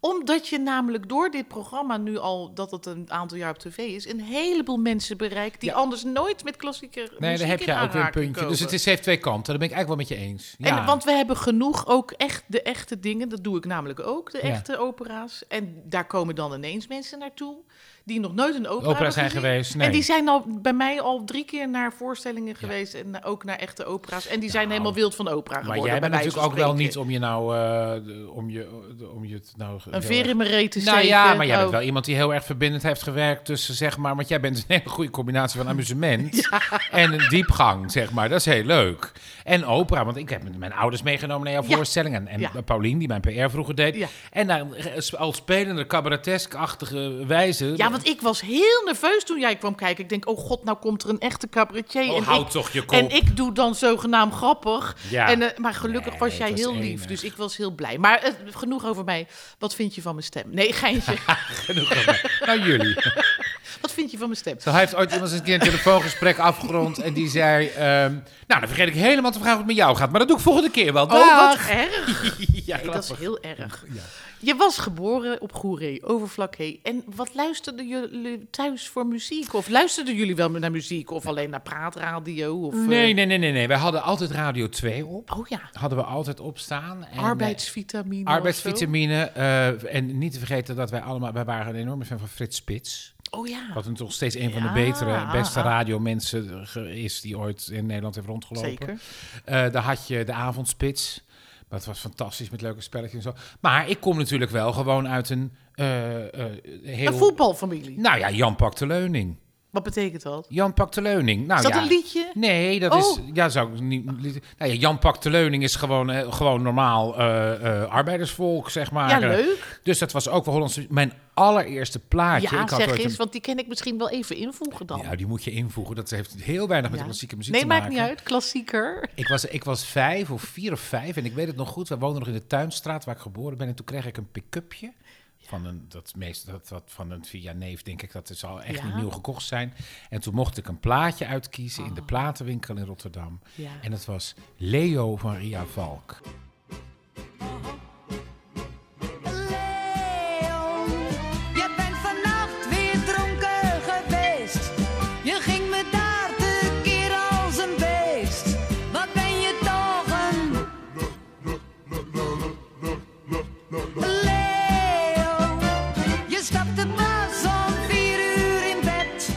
A: Omdat je namelijk door dit programma nu al, dat het een aantal jaar op tv is, een heleboel mensen bereikt die
C: Ja.
A: anders nooit met klassieke
C: nee,
A: muziek
C: daar heb
A: in
C: jij ook weer een
A: aanraking
C: puntje. Dus het
A: komen.
C: is, heeft twee kanten, daar ben ik eigenlijk wel met je eens. Ja,
A: En, want we hebben genoeg ook echt de echte dingen, dat doe ik namelijk ook, de
C: Ja.
A: echte opera's. En daar komen dan ineens mensen naartoe die nog nooit een opera,
C: opera
A: hebben
C: zijn
A: gezien.
C: geweest, nee.
A: En die zijn al bij mij al drie keer naar voorstellingen geweest en ook naar echte opera's. En die zijn
C: Nou,
A: helemaal wild van opera
C: maar
A: geworden.
C: jij
A: bij
C: bent
A: wijze
C: natuurlijk ook
A: van
C: wel
A: spreken.
C: niet om je nou... eh, de- om je, de- om je het nou heel
A: Een
C: erg-
A: veer in mijn reet te
C: Nou
A: steken.
C: ja, maar jij bent
A: Oh.
C: wel iemand die heel erg verbindend heeft gewerkt tussen, zeg maar, want jij bent een hele goede combinatie van amusement en een diepgang, zeg maar. Dat is heel leuk. En opera, want ik heb met mijn ouders meegenomen naar jouw
A: Ja.
C: voorstelling en, en
A: Ja.
C: Paulien, die mijn PR vroeger deed.
A: Ja.
C: En dan al spelende, cabaretesk-achtige wijze.
A: Ja, want ik was heel nerveus toen jij kwam kijken. Ik denk, oh god, nou komt er een echte cabaretier.
C: Oh,
A: en
C: houd
A: ik,
C: toch je kop.
A: En ik doe dan zogenaamd grappig.
C: Ja.
A: En, eh, maar gelukkig
C: Nee,
A: was jij
C: het was
A: heel lief,
C: enig.
A: dus ik was heel blij. Maar eh, genoeg over mij. Wat vind je van mijn stem? Nee, geintje.
C: Genoeg van mij. Nou, jullie.
A: Wat vind je van mijn stem?
C: Zo, hij heeft ooit iemand eens een keer een telefoongesprek afgerond en die zei, ehm, nou, dan vergeet ik helemaal te vragen hoe het met jou gaat, maar dat doe ik volgende keer wel.
A: Oh, wat
C: Dag.
A: erg.
C: Ja,
A: Nee, dat is
C: grappig.
A: heel erg. Je was geboren op Goeree, Overflakkee. En wat luisterden jullie thuis voor muziek? Of luisterden jullie wel naar muziek? Of alleen naar praatradio? Of, eh,
C: Nee, nee, nee, nee, nee. Wij hadden altijd Radio 2 op.
A: Oh ja,
C: hadden we altijd opstaan. En,
A: arbeidsvitamine
C: eh, arbeidsvitamine. eh, en niet te vergeten dat wij allemaal... Wij waren een enorme fan van Frits Spits.
A: of zo. Oh ja.
C: Wat nog steeds een van de
A: Ja. Ah,
C: betere, en beste radiomensen ge- is... die ooit in Nederland heeft rondgelopen.
A: Zeker.
C: Eh, daar had je de avondspits. Maar het was fantastisch met leuke spelletjes en zo. Maar ik kom natuurlijk wel gewoon uit een eh, eh, heel...
A: Een voetbalfamilie.
C: nou ja, Jan pakt de leuning.
A: Wat betekent dat?
C: Jan pakt de leuning. Nou,
A: is dat
C: ja.
A: een liedje?
C: Nee, dat
A: Oh.
C: is. Ja, zou ik niet. liet- Nou ja, Jan Pak de Leuning is gewoon, eh, gewoon normaal eh, eh, arbeidersvolk, zeg maar.
A: Ja,
C: Eh,
A: leuk.
C: Dus dat was ook wel Hollandse. Mijn allereerste plaatje.
A: Ja,
C: ik had
A: zeg
C: ooit een-
A: eens, want die kan ik misschien wel even invoegen dan.
C: Ja, die moet je invoegen. Dat heeft heel weinig met
A: Ja.
C: de klassieke muziek
A: nee,
C: te
A: maakt
C: maken.
A: niet uit. Klassieker.
C: Ik was, ik was vijf of vier of vijf en ik weet het nog goed. We woonden nog in de Tuinstraat waar ik geboren ben. En toen kreeg ik een pick-upje Van een, dat meest, dat, dat, van een via neef, denk ik, dat het zal echt
A: Ja.
C: niet nieuw gekocht zijn. En toen mocht ik een plaatje uitkiezen in de platenwinkel in Rotterdam.
A: Oh. Ja.
C: En dat was Leo van Ria Valk.
E: Leon, je bent vannacht weer dronken geweest. Je ging me daar te keer als een beest. Wat ben je toch een. Leon, je stapte pas om vier uur in bed.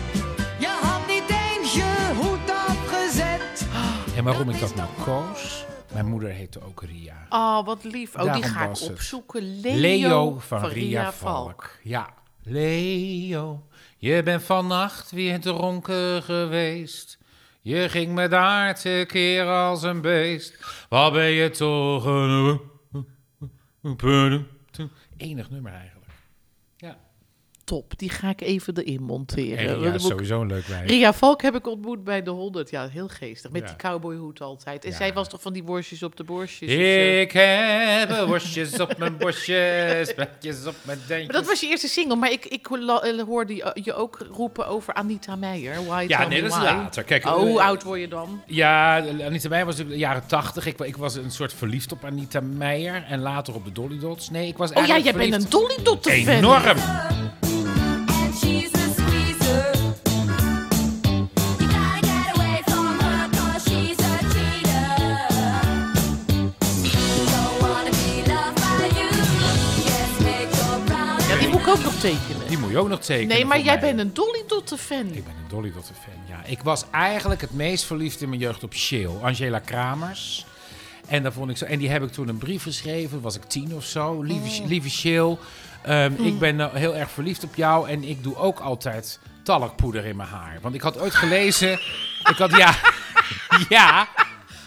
E: Je had niet eens je hoed opgezet.
C: En waarom ik dat nou koos? Mijn moeder heette ook Ria.
A: Oh, wat lief. Oh,
C: Daarom
A: die ga ik
C: was het.
A: opzoeken. Leo,
C: Leo van, Ria Valk. Ja, Leo, je bent vannacht weer dronken geweest. Je ging me daar te keer als een beest. Wat ben je toch een... Enig nummer eigenlijk. Ja,
A: Top, die ga ik even erin monteren.
C: en
A: Dat
C: Ria
A: moet
C: is
A: ik-
C: Eh, sowieso een leuk wijf.
A: Ria Valk heb ik ontmoet bij de 100. Ja, heel geestig. Met
C: Ja.
A: die cowboyhoed altijd. En
C: Ja.
A: zij was toch van die worstjes op de borstjes? of zo?
C: Ik heb worstjes op mijn borstjes, petjes op mijn dentjes.
A: Maar dat was je eerste single, maar ik, ik la- eh, hoorde je- je ook roepen over Anita Meijer. Why
C: Ja,
A: Tell
C: nee,
A: Me
C: dat is
A: Why.
C: later. Kijk,
A: Oh, hoe
C: eh,
A: oud word je dan?
C: Ja, Anita Meijer was in de jaren tachtig. Ik, wa- ik was een soort verliefd op Anita Meijer. En later op de Dolly Dots. Nee, ik was
A: Oh ja,
C: eigenlijk
A: jij bent een
C: verliefd-
A: Dolly Dotter fan.
C: Enorm!
E: And she's a squeezer.
F: You gotta get away from her 'cause she's a cheater. You don't wanna be loved by you. Yes, make your brown.
A: Ja, die moet ik ook nog tekenen.
C: Die moet je ook nog tekenen.
A: Nee, maar
C: voor
A: jij
C: mij.
A: bent een Dolly Dotter fan.
C: Ik ben een Dolly Dotter fan, ja. Ik was eigenlijk het meest verliefd in mijn jeugd op Sheel. Angela Kramers. En, daar vond ik zo, en die heb ik toen een brief geschreven. Was ik tien of zo. Lieve,
A: Oh.
C: lieve Sheel, ehm,
A: Mm.
C: ik ben eh, heel erg verliefd op jou. En ik doe ook altijd talkpoeder in mijn haar. Want ik had ooit gelezen... ik had, ja... Ja...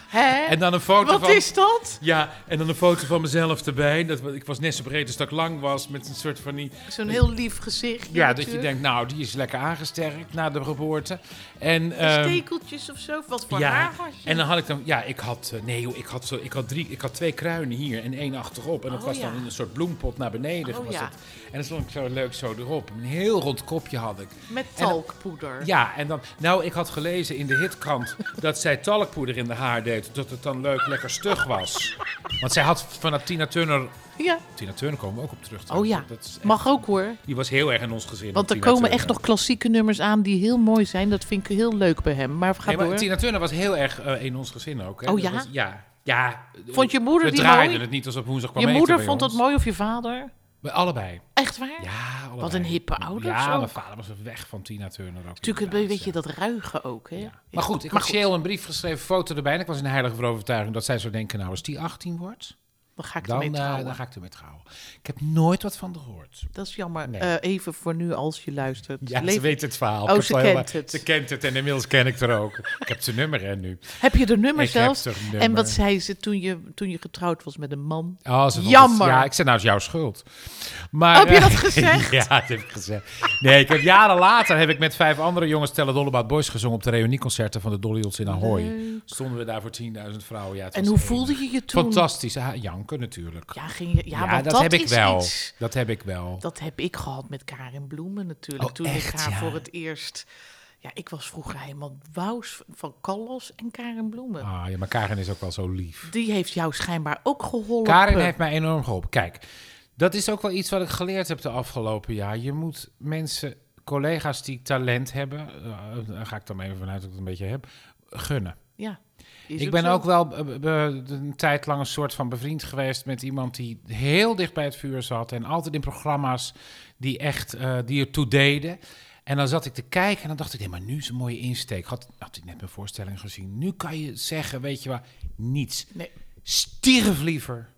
A: Hè?
C: En dan een foto
A: Wat
C: van...
A: is dat?
C: Ja, en dan een foto van mezelf erbij. Dat, ik was net zo breed als dat ik lang was. Met een soort van die...
A: Zo'n heel lief gezicht.
C: Ja, dat je denkt, nou, die is lekker aangesterkt na de geboorte. En, ehm,
A: Stekeltjes of zo. Wat voor
C: ja,
A: haar had je?
C: en dan had ik dan... Ja, ik had... eh, Nee, joh, ik had, zo, ik had, drie, ik had twee kruinen hier en één achterop. En dat
A: Oh,
C: was dan
A: ja.
C: in een soort bloempot naar beneden.
A: Oh,
C: was
A: ja.
C: dat. En dan stond ik zo leuk zo erop. Een heel rond kopje had ik.
A: Met
C: en-
A: talkpoeder.
C: Ja, en dan... Nou, ik had gelezen in de hitkrant dat zij talkpoeder in de haar deed. Dat het dan leuk lekker stug was. Want zij had vanaf Tina Turner
A: Ja.
C: Tina Turner komen we ook op terug.
A: Oh ja,
C: Dat is echt-
A: mag ook hoor.
C: Die was heel erg in ons gezin.
A: Want er
C: Tina
A: komen
C: Turner.
A: echt nog klassieke nummers aan die heel mooi zijn. Dat vind ik heel leuk bij hem. Maar ga
C: Nee, maar
A: door.
C: Tina Turner was heel erg eh, in ons gezin ook. Hè?
A: Oh
C: Dat
A: ja?
C: was- ja? Ja.
A: Vond je moeder
C: We
A: die
C: draaiden
A: mooi?
C: het niet als op woensdag kwam
A: Je
C: eten
A: moeder
C: bij
A: vond dat
C: ons.
A: mooi of je vader?
C: Bij allebei.
A: Echt waar?
C: Ja, allebei.
A: een hippe ouders
C: Ja,
A: ook.
C: mijn vader was weg van Tina Turner ook.
A: Natuurlijk, het,
C: inderdaad,
A: weet
C: ja.
A: je, dat ruige ook. Hè?
C: Maar goed, ik had Shale een brief geschreven, foto erbij. En ik was in de heilige verovertuiging dat zij zou denken, nou, als die 18 wordt,
A: Dan ga ik
C: dan,
A: ermee
C: eh,
A: trouwen.
C: dan ga ik ermee trouwen. Ik heb nooit wat van haar gehoord.
A: Dat is jammer.
C: Nee.
A: Eh, even voor nu als je luistert.
C: Ja, ze
A: Leef-
C: weet het verhaal.
A: Oh,
C: Ik heb
A: ze
C: wel heel-
A: kent het.
C: Ze kent het en inmiddels ken ik haar ook. ik heb zijn nummer hè, nu.
A: Heb je de nummer
C: Ik heb
A: zelfs?
C: haar nummer.
A: En wat zei ze toen je, toen je getrouwd was met een man?
C: Oh, ze vond het-
A: Jammer. Oh,
C: ja, ik zei nou, het is jouw schuld. Maar,
A: Heb je dat
C: eh,
A: gezegd?
C: ja, dat heb ik gezegd. Nee, ik heb, jaren later heb ik met vijf andere jongens Telle Dollebout Boys gezongen op de reunieconcerten van de Dolly Dots in Ahoy. Stonden we daar voor 10.000 vrouwen. Ja, het
A: En
C: was
A: hoe
C: enig.
A: voelde je je toen?
C: Fantastisch. Ja, janken natuurlijk.
A: Ja, ging je, ja,
C: Ja,
A: want
C: dat,
A: dat,
C: heb ik
A: is
C: wel.
A: iets.
C: Dat heb ik wel.
A: Dat heb ik gehad met Karin Bloemen natuurlijk.
C: Oh,
A: toen ik
C: echt,
A: haar
C: ja.
A: voor het eerst... Ja, ik was vroeger helemaal wous van Carlos en Karin Bloemen.
C: Ah, ja, maar Karen is ook wel zo lief.
A: Die heeft jou schijnbaar ook geholpen.
C: Karin heeft mij enorm geholpen. Kijk, dat is ook wel iets wat ik geleerd heb de afgelopen jaar. Je moet mensen, collega's die talent hebben, eh, daar ga ik dan even vanuit dat ik het een beetje heb, gunnen.
A: Ja. Is
C: Ik
A: ook
C: ben
A: zo.
C: ook wel eh, be- be- een tijd lang een soort van bevriend geweest met iemand die heel dicht bij het vuur zat en altijd in programma's die echt eh die ertoe deden. En dan zat ik te kijken en dan dacht ik, nee, maar nu is een mooie insteek. Had, had ik net mijn voorstelling gezien. Nu kan je zeggen, weet je wat, niets
A: Nee.
C: stierf liever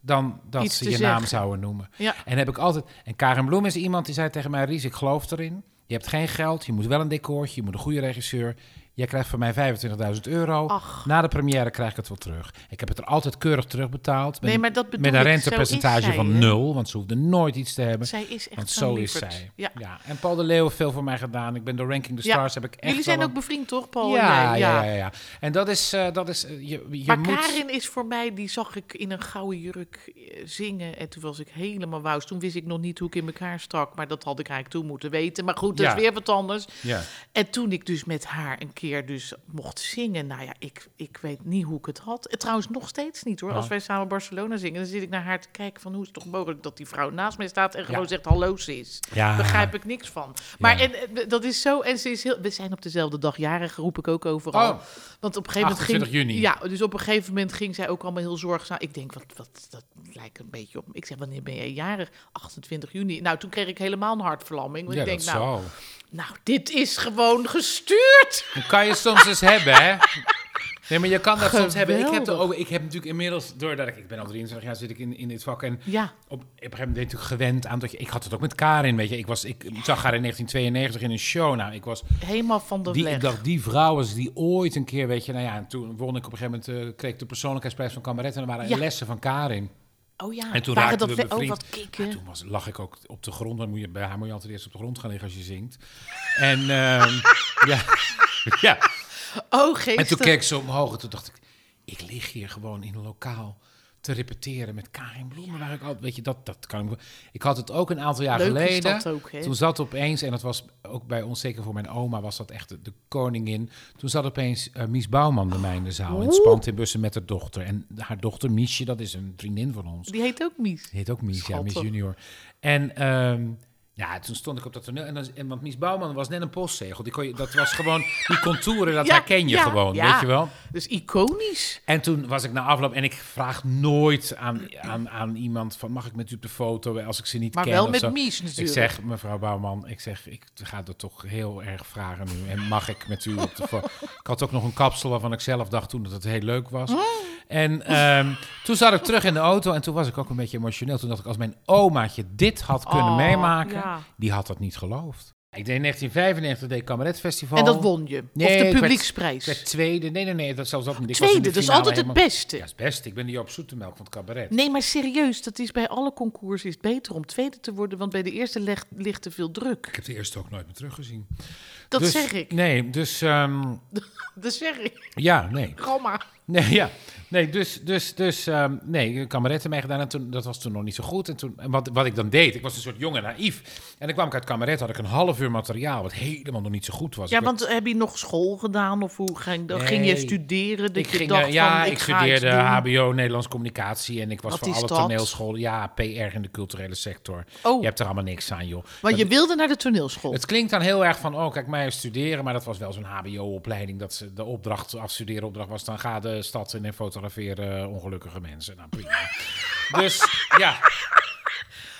C: dan dat
A: Iets
C: ze
A: te
C: je naam
A: zeggen.
C: zouden noemen.
A: Ja.
C: En heb ik altijd. En Karen Bloem is iemand die zei tegen mij: Ries, ik geloof erin. Je hebt geen geld, je moet wel een decoortje, je moet een goede regisseur. Jij krijgt van mij 25.000 euro. Na de première krijg ik het wel terug. Ik heb het er altijd keurig terugbetaald.
A: Nee, maar dat bedoel
C: Met een
A: ik. Zo is
C: rentepercentage
A: zij,
C: van
A: hè?
C: nul, want ze hoefde nooit iets te hebben.
A: Zij is echt
C: Want
A: zo'n
C: zo is
A: lieverd.
C: zij.
A: Ja.
C: En Paul de Leeuw heeft veel voor mij gedaan. Ik ben door Ranking the
A: Ja.
C: Stars heb ik echt
A: Jullie zijn
C: wel
A: ook
C: een-
A: bevriend, toch, Paul? en
C: ja,
A: jij?
C: ja, ja, ja. En dat is, eh, dat is eh, je, je
A: Maar
C: moet...
A: Karin is voor mij, die zag ik in een gouden jurk eh, zingen. En toen was ik helemaal wauw. Toen wist ik nog niet hoe ik in elkaar stak. Maar dat had ik eigenlijk toen moeten weten. Maar goed, dat
C: Ja.
A: is weer wat anders.
C: Ja.
A: En toen ik dus met haar een keer dus mocht zingen. Nou ja, ik, ik weet niet hoe ik het had. Eh, Trouwens, nog steeds niet hoor.
C: Ja.
A: Als wij samen Barcelona zingen, dan zit ik naar haar te kijken van... hoe is het toch mogelijk dat die vrouw naast mij staat en gewoon
C: Ja.
A: zegt hallo sis.
C: Ja.
A: Begrijp ik niks van. Maar
C: Ja.
A: en, eh, dat is zo... En ze is heel, we zijn op dezelfde dag jarig, roep ik ook overal.
C: Oh.
A: Want op een gegeven moment ging...
C: 28 juni.
A: Ja, dus op een gegeven moment ging zij ook allemaal heel zorgzaam. Ik denk, wat, wat, dat lijkt een beetje op... Ik zeg, wanneer ben jij jarig? 28 juni. Nou, toen kreeg ik helemaal een hartverlamming. Want
C: Ja,
A: ik denk,
C: dat
A: nou,
C: zo.
A: nou, dit is gewoon gestuurd.
C: Dan kan je soms eens hebben, hè? Nee, maar je kan dat soms hebben. Ik heb,
A: Geweldig.
C: er ook, ik heb natuurlijk inmiddels, doordat ik, ik ben al 23 jaar, zit ik in, in dit vak. En
A: Ja.
C: op, op een gegeven moment ben je natuurlijk gewend aan dat je... Ik had het ook met Karin, weet je. Ik, was, ik zag haar in 1992 in een show. Nou, ik was...
A: Helemaal van de
C: Die,
A: leg.
C: ik dacht, die vrouw is die ooit een keer, weet je... Nou ja, en toen won ik op een gegeven moment... eh, kreeg ik de persoonlijkheidsprijs van Cabaret. En er waren
A: Ja.
C: lessen van Karin.
A: oh ja,
C: En toen
A: waren
C: raakten
A: dat le-
C: we
A: Oh,
C: bevriend.
A: wat kikken.
C: En toen was, lag ik ook op de grond. Dan moet je, bij haar moet je altijd eerst op de grond gaan liggen als je zingt. En, ehm, ja, ja.
A: oh,
C: en toen
A: geestig.
C: keek ze omhoog en toen dacht ik... Ik lig hier gewoon in een lokaal te repeteren met Karin Bloemen. Waar ik al, weet je, dat, dat kan ik... me- Ik had het ook een aantal jaar
A: Leuk is
C: geleden.
A: dat ook, hè?
C: Toen zat opeens, en dat was ook bij ons, zeker voor mijn oma, was dat echt de, de koningin. Toen zat opeens eh, Mies Bouwman bij mij in de zaal. In het spant in bussen met haar dochter. En haar dochter Miesje, dat is een vriendin van ons.
A: Die heet ook Mies.
C: Die heet ook Mies, ja,
A: Schattig.
C: Mies Junior. En ehm, ja, toen stond ik op dat toneel. En, dan, en want Mies Bouwman was net een postzegel. Die kon je, dat was gewoon, die contouren, dat
A: Ja,
C: herken je
A: ja,
C: gewoon,
A: ja.
C: weet je wel.
A: Dus iconisch.
C: En toen was ik na afloop en ik vraag nooit aan, aan, aan iemand van mag ik met u op de foto als ik ze niet
A: Maar
C: ken.
A: wel
C: of
A: met
C: zo.
A: Mies natuurlijk.
C: Ik zeg mevrouw Bouwman, ik zeg ik ga dat toch heel erg vragen nu en mag ik met u op de foto? ik had ook nog een kapsel waarvan ik zelf dacht toen dat het heel leuk was.
A: Oh.
C: En ehm, toen zat ik terug in de auto en toen was ik ook een beetje emotioneel. Toen dacht ik als mijn omaatje dit had kunnen
A: Oh,
C: meemaken,
A: ja.
C: die had dat niet geloofd. Ik deed in 1995 deed ik Cabaret Festival.
A: En dat won je.
C: Nee,
A: of
C: ik
A: de
C: werd-
A: publieksprijs.
C: Ik werd tweede. Nee, nee, nee, dat zelfs ook niet. Ik was in de
A: Tweede, dat is
C: finale
A: altijd het
C: helemaal-
A: beste.
C: Ja, dat is het beste. Ik ben die op zoetemelk van het cabaret.
A: Nee, maar serieus, dat is bij alle concours is het beter om tweede te worden, want bij de eerste leg- ligt te veel druk.
C: Ik heb de eerste ook nooit meer teruggezien.
A: Dat
C: Dus-
A: zeg ik.
C: Nee, dus ehm,
A: Dat zeg ik.
C: ja, nee.
A: Gamma.
C: Nee, ja. Nee, dus, dus, dus, ehm nee, kameretten meegedaan. En toen, dat was toen nog niet zo goed. En, toen, en wat, wat ik dan deed, ik was een soort jongen naïef. En dan kwam ik uit kameretten, had ik een half uur materiaal, wat helemaal nog niet zo goed was.
A: Ja,
C: Ik
A: want heb je nog school gedaan of hoe ging, dat? ging je
C: Nee.
A: studeren? Dat
C: ik
A: je
C: ging,
A: dacht
C: eh, ja,
A: van, ik,
C: ik
A: ga iets
C: studeerde
A: doen?
C: HBO Nederlands Communicatie en ik was
A: Wat
C: voor
A: is
C: alle
A: dat?
C: toneelscholen. Ja, PR in de culturele sector.
A: Oh.
C: Je hebt er allemaal niks aan, joh.
A: Want
C: Dat-
A: je wilde naar de toneelschool.
C: Het klinkt dan heel erg van, oh, kijk mij eens studeren. Maar dat was wel zo'n hbo-opleiding. Dat ze de opdracht, afstudeeropdracht was, dan ga de stad in en fotografeer eh, ongelukkige mensen. Nou, prima. dus ja,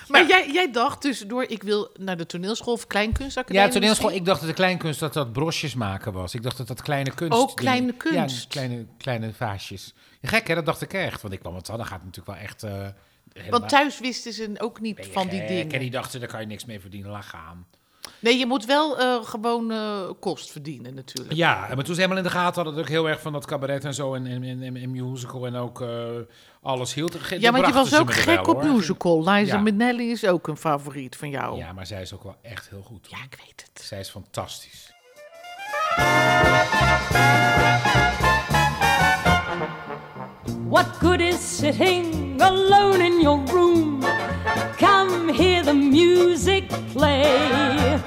A: Maar jij, jij dacht dus door, ik wil naar de toneelschool of kleinkunstacademie.
C: ja toneelschool.
A: misschien?
C: Ik dacht dat de kleinkunst dat dat brosjes maken was. Ik dacht dat dat kleine kunst.
A: Ook kleine kunst.
C: Ja, kleine, kleine vaasjes. Gek hè, dat dacht ik echt. Want ik kwam het dan gaat het natuurlijk wel echt... eh, helemaal-
A: Want thuis wisten ze ook niet
C: Ben je
A: van die
C: gek?
A: dingen.
C: En die dachten, daar kan je niks mee verdienen, laat gaan.
A: Nee, je moet wel eh, gewoon eh, kost verdienen natuurlijk.
C: Ja, maar toen ze helemaal in de gaten hadden, dat ik heel erg van dat cabaret en zo en, en, en, en, en musical en ook eh, alles hield. Ge-
A: Ja,
C: dan
A: want je
C: brachten
A: was
C: ze
A: ook
C: me er
A: gek
C: wel,
A: op
C: hoor.
A: musical. Liza
C: Ja.
A: Minnelli is ook een favoriet van jou.
C: Ja, maar zij is ook wel echt heel goed. hoor.
A: Ja, ik weet het.
C: Zij is fantastisch.
G: What good is sitting alone in your room? Come hear the music play.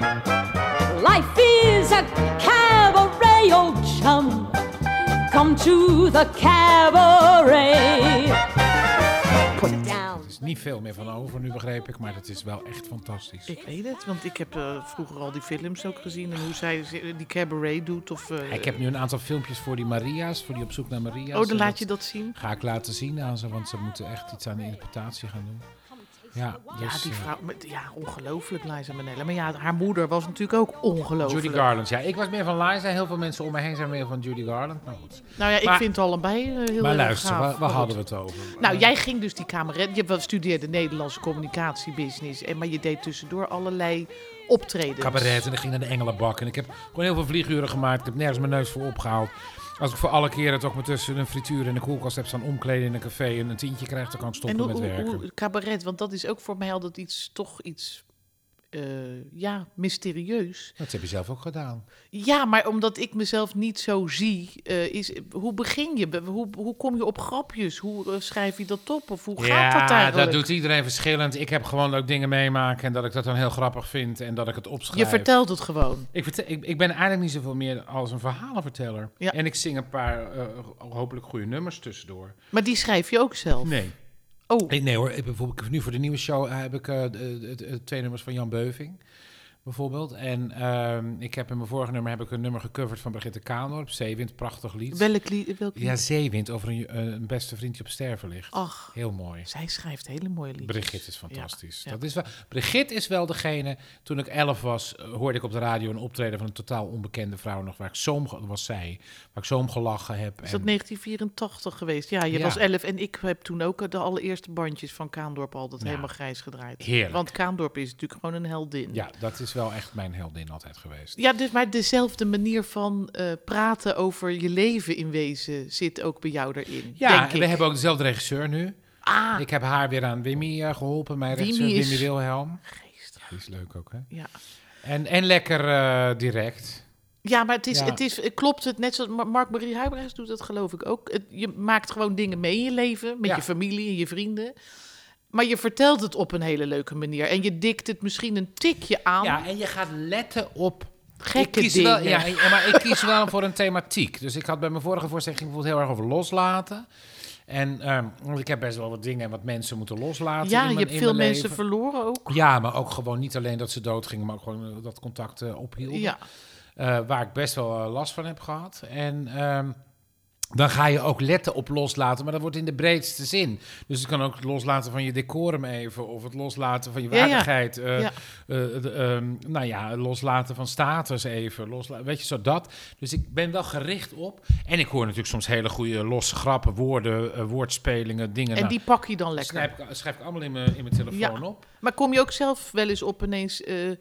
G: Life is a cabaret, old chum. Come to the cabaret. Put it down.
C: Er is niet veel meer van over nu, begreep ik, maar dat is wel echt fantastisch.
A: Ik weet het, want ik heb eh, vroeger al die films ook gezien. En hoe zij ze- die cabaret doet. Of, eh,
C: Ik heb nu een aantal filmpjes voor die Maria's, voor die op zoek naar Maria's.
A: oh, dan
C: En
A: laat je dat zien.
C: Ga ik laten zien aan ze, want ze moeten echt iets aan de interpretatie gaan doen. Ja,
A: Ja,
C: dus,
A: Ah, die
C: eh,
A: vrouw, met- ja, ongelooflijk, Liza Minnelli. Maar ja, haar moeder was natuurlijk ook ongelooflijk.
C: Judy Garland. Ja, ik was meer van Liza. Heel veel mensen om me heen zijn meer van Judy Garland. Maar goed.
A: Nou ja, ik
C: Maar-
A: vind het allebei eh, heel
C: Maar
A: erg
C: luister,
A: gaaf.
C: waar,
A: Maar
C: waar
A: goed.
C: hadden we het over?
A: Nou, jij ging dus die cabaret. Je wel- studeerde Nederlandse communicatiebusiness. En, maar je deed tussendoor allerlei optredens.
C: cabaret en ik ging naar de Engelenbak. En ik heb gewoon heel veel vlieguren gemaakt. Ik heb nergens mijn neus voor opgehaald. Als ik voor alle keren toch maar tussen een frituur en een koelkast heb staan omkleden in een café en een tientje krijg, dan kan ik
A: En
C: stoppen
A: hoe,
C: met
A: hoe,
C: werken.
A: hoe- cabaret, want dat is ook voor mij altijd iets, toch iets, eh, ja, mysterieus.
C: Dat heb je zelf ook gedaan.
A: Ja, maar omdat ik mezelf niet zo zie, eh, is, hoe begin je? Be- Hoe, hoe kom je op grapjes? Hoe eh, schrijf je dat op? Of hoe gaat dat
C: ja,
A: eigenlijk?
C: dat doet iedereen verschillend. Ik heb gewoon ook dingen meemaken en dat ik dat dan heel grappig vind en dat ik het opschrijf.
A: Je vertelt het gewoon.
C: Ik, vertel, ik, ik ben eigenlijk niet zoveel meer als een verhalenverteller.
A: Ja.
C: En ik zing een paar eh, hopelijk goede nummers tussendoor.
A: Maar die schrijf je ook zelf.
C: Nee.
A: Oh,
C: Ik- nee hoor, ik, bijvoorbeeld nu voor de nieuwe show eh, heb ik eh, de- de- de- twee nummers van Jan Beuving. Bijvoorbeeld. En ehm, ik heb in mijn vorige nummer heb ik een nummer gecoverd van Brigitte Kaandorp. Zeewind, prachtig lied.
A: welk lied? Welk lied?
C: Ja, Zeewind, over een, eh, een beste vriend die op sterven ligt.
A: Ach,
C: Heel mooi.
A: zij schrijft hele mooie liedjes.
C: Brigitte is
A: Oh. Ja,
C: fantastisch.
A: ja.
C: Dat is wel, Brigitte is wel degene. Toen ik elf was, eh, hoorde ik op de radio een optreden van een totaal onbekende vrouw nog. Waar ik zo om, ge- was zij, waar ik zo om gelachen heb.
A: Is
C: en-
A: dat 1984 geweest? Ja, je
C: Ja.
A: was 11 en ik heb toen ook eh, de allereerste bandjes van Kaandorp altijd
C: Nou,
A: helemaal grijs gedraaid.
C: heerlijk.
A: Want Kaandorp is natuurlijk gewoon een heldin.
C: Ja, dat is wel echt mijn heldin altijd geweest.
A: Ja, dus maar dezelfde manier van eh, praten over je leven in wezen zit ook bij jou erin.
C: Ja,
A: denk
C: en we
A: ik.
C: hebben ook dezelfde regisseur nu.
A: Ah,
C: Ik heb haar weer aan Wimmy eh, geholpen, mijn
A: Wimmy
C: regisseur
A: is-
C: Wimmy Wilhelm.
A: geestig.
C: Die is leuk ook, hè?
A: Ja.
C: En, en lekker eh, direct.
A: Ja, maar het is,
C: Ja.
A: het is, het klopt het net zoals Ma- Mark-Marie Huibrechts doet dat geloof ik ook. Het- je maakt gewoon dingen mee in je leven, met
C: Ja.
A: je familie en je vrienden. Maar je vertelt het op een hele leuke manier. En je dikt het misschien een tikje aan.
C: Ja, en je gaat letten op...
A: Gekke
C: ik kies
A: dingen.
C: Wel, ja, en- maar ik kies wel voor een thematiek. Dus ik had bij mijn vorige voorstelling bijvoorbeeld heel erg over loslaten. En ehm, want ik heb best wel wat dingen en wat mensen moeten loslaten
A: Ja,
C: in
A: je
C: mijn,
A: hebt
C: in
A: veel
C: mijn
A: mensen
C: leven.
A: verloren ook.
C: Ja, maar ook gewoon niet alleen dat ze doodgingen, maar ook gewoon eh, dat contact eh, ophield.
A: Ja,
C: Eh, waar ik best wel eh, last van heb gehad. En ehm, dan ga je ook letten op loslaten, maar dat wordt in de breedste zin. Dus het kan ook het loslaten van je decorum even, of het loslaten van je
A: Ja, ja.
C: waardigheid. eh,
A: Ja.
C: eh, de, ehm, nou ja, loslaten van status even. Losla weet je, zo dat. Dus ik ben wel gericht op. En ik hoor natuurlijk soms hele goede losse grappen, woorden, eh, woordspelingen, dingen.
A: en
C: Nou,
A: die pak je dan lekker.
C: schrijf, ik, schrijf ik allemaal in mijn, in mijn telefoon
A: Ja.
C: op.
A: Maar kom je ook zelf wel eens op ineens eh, een,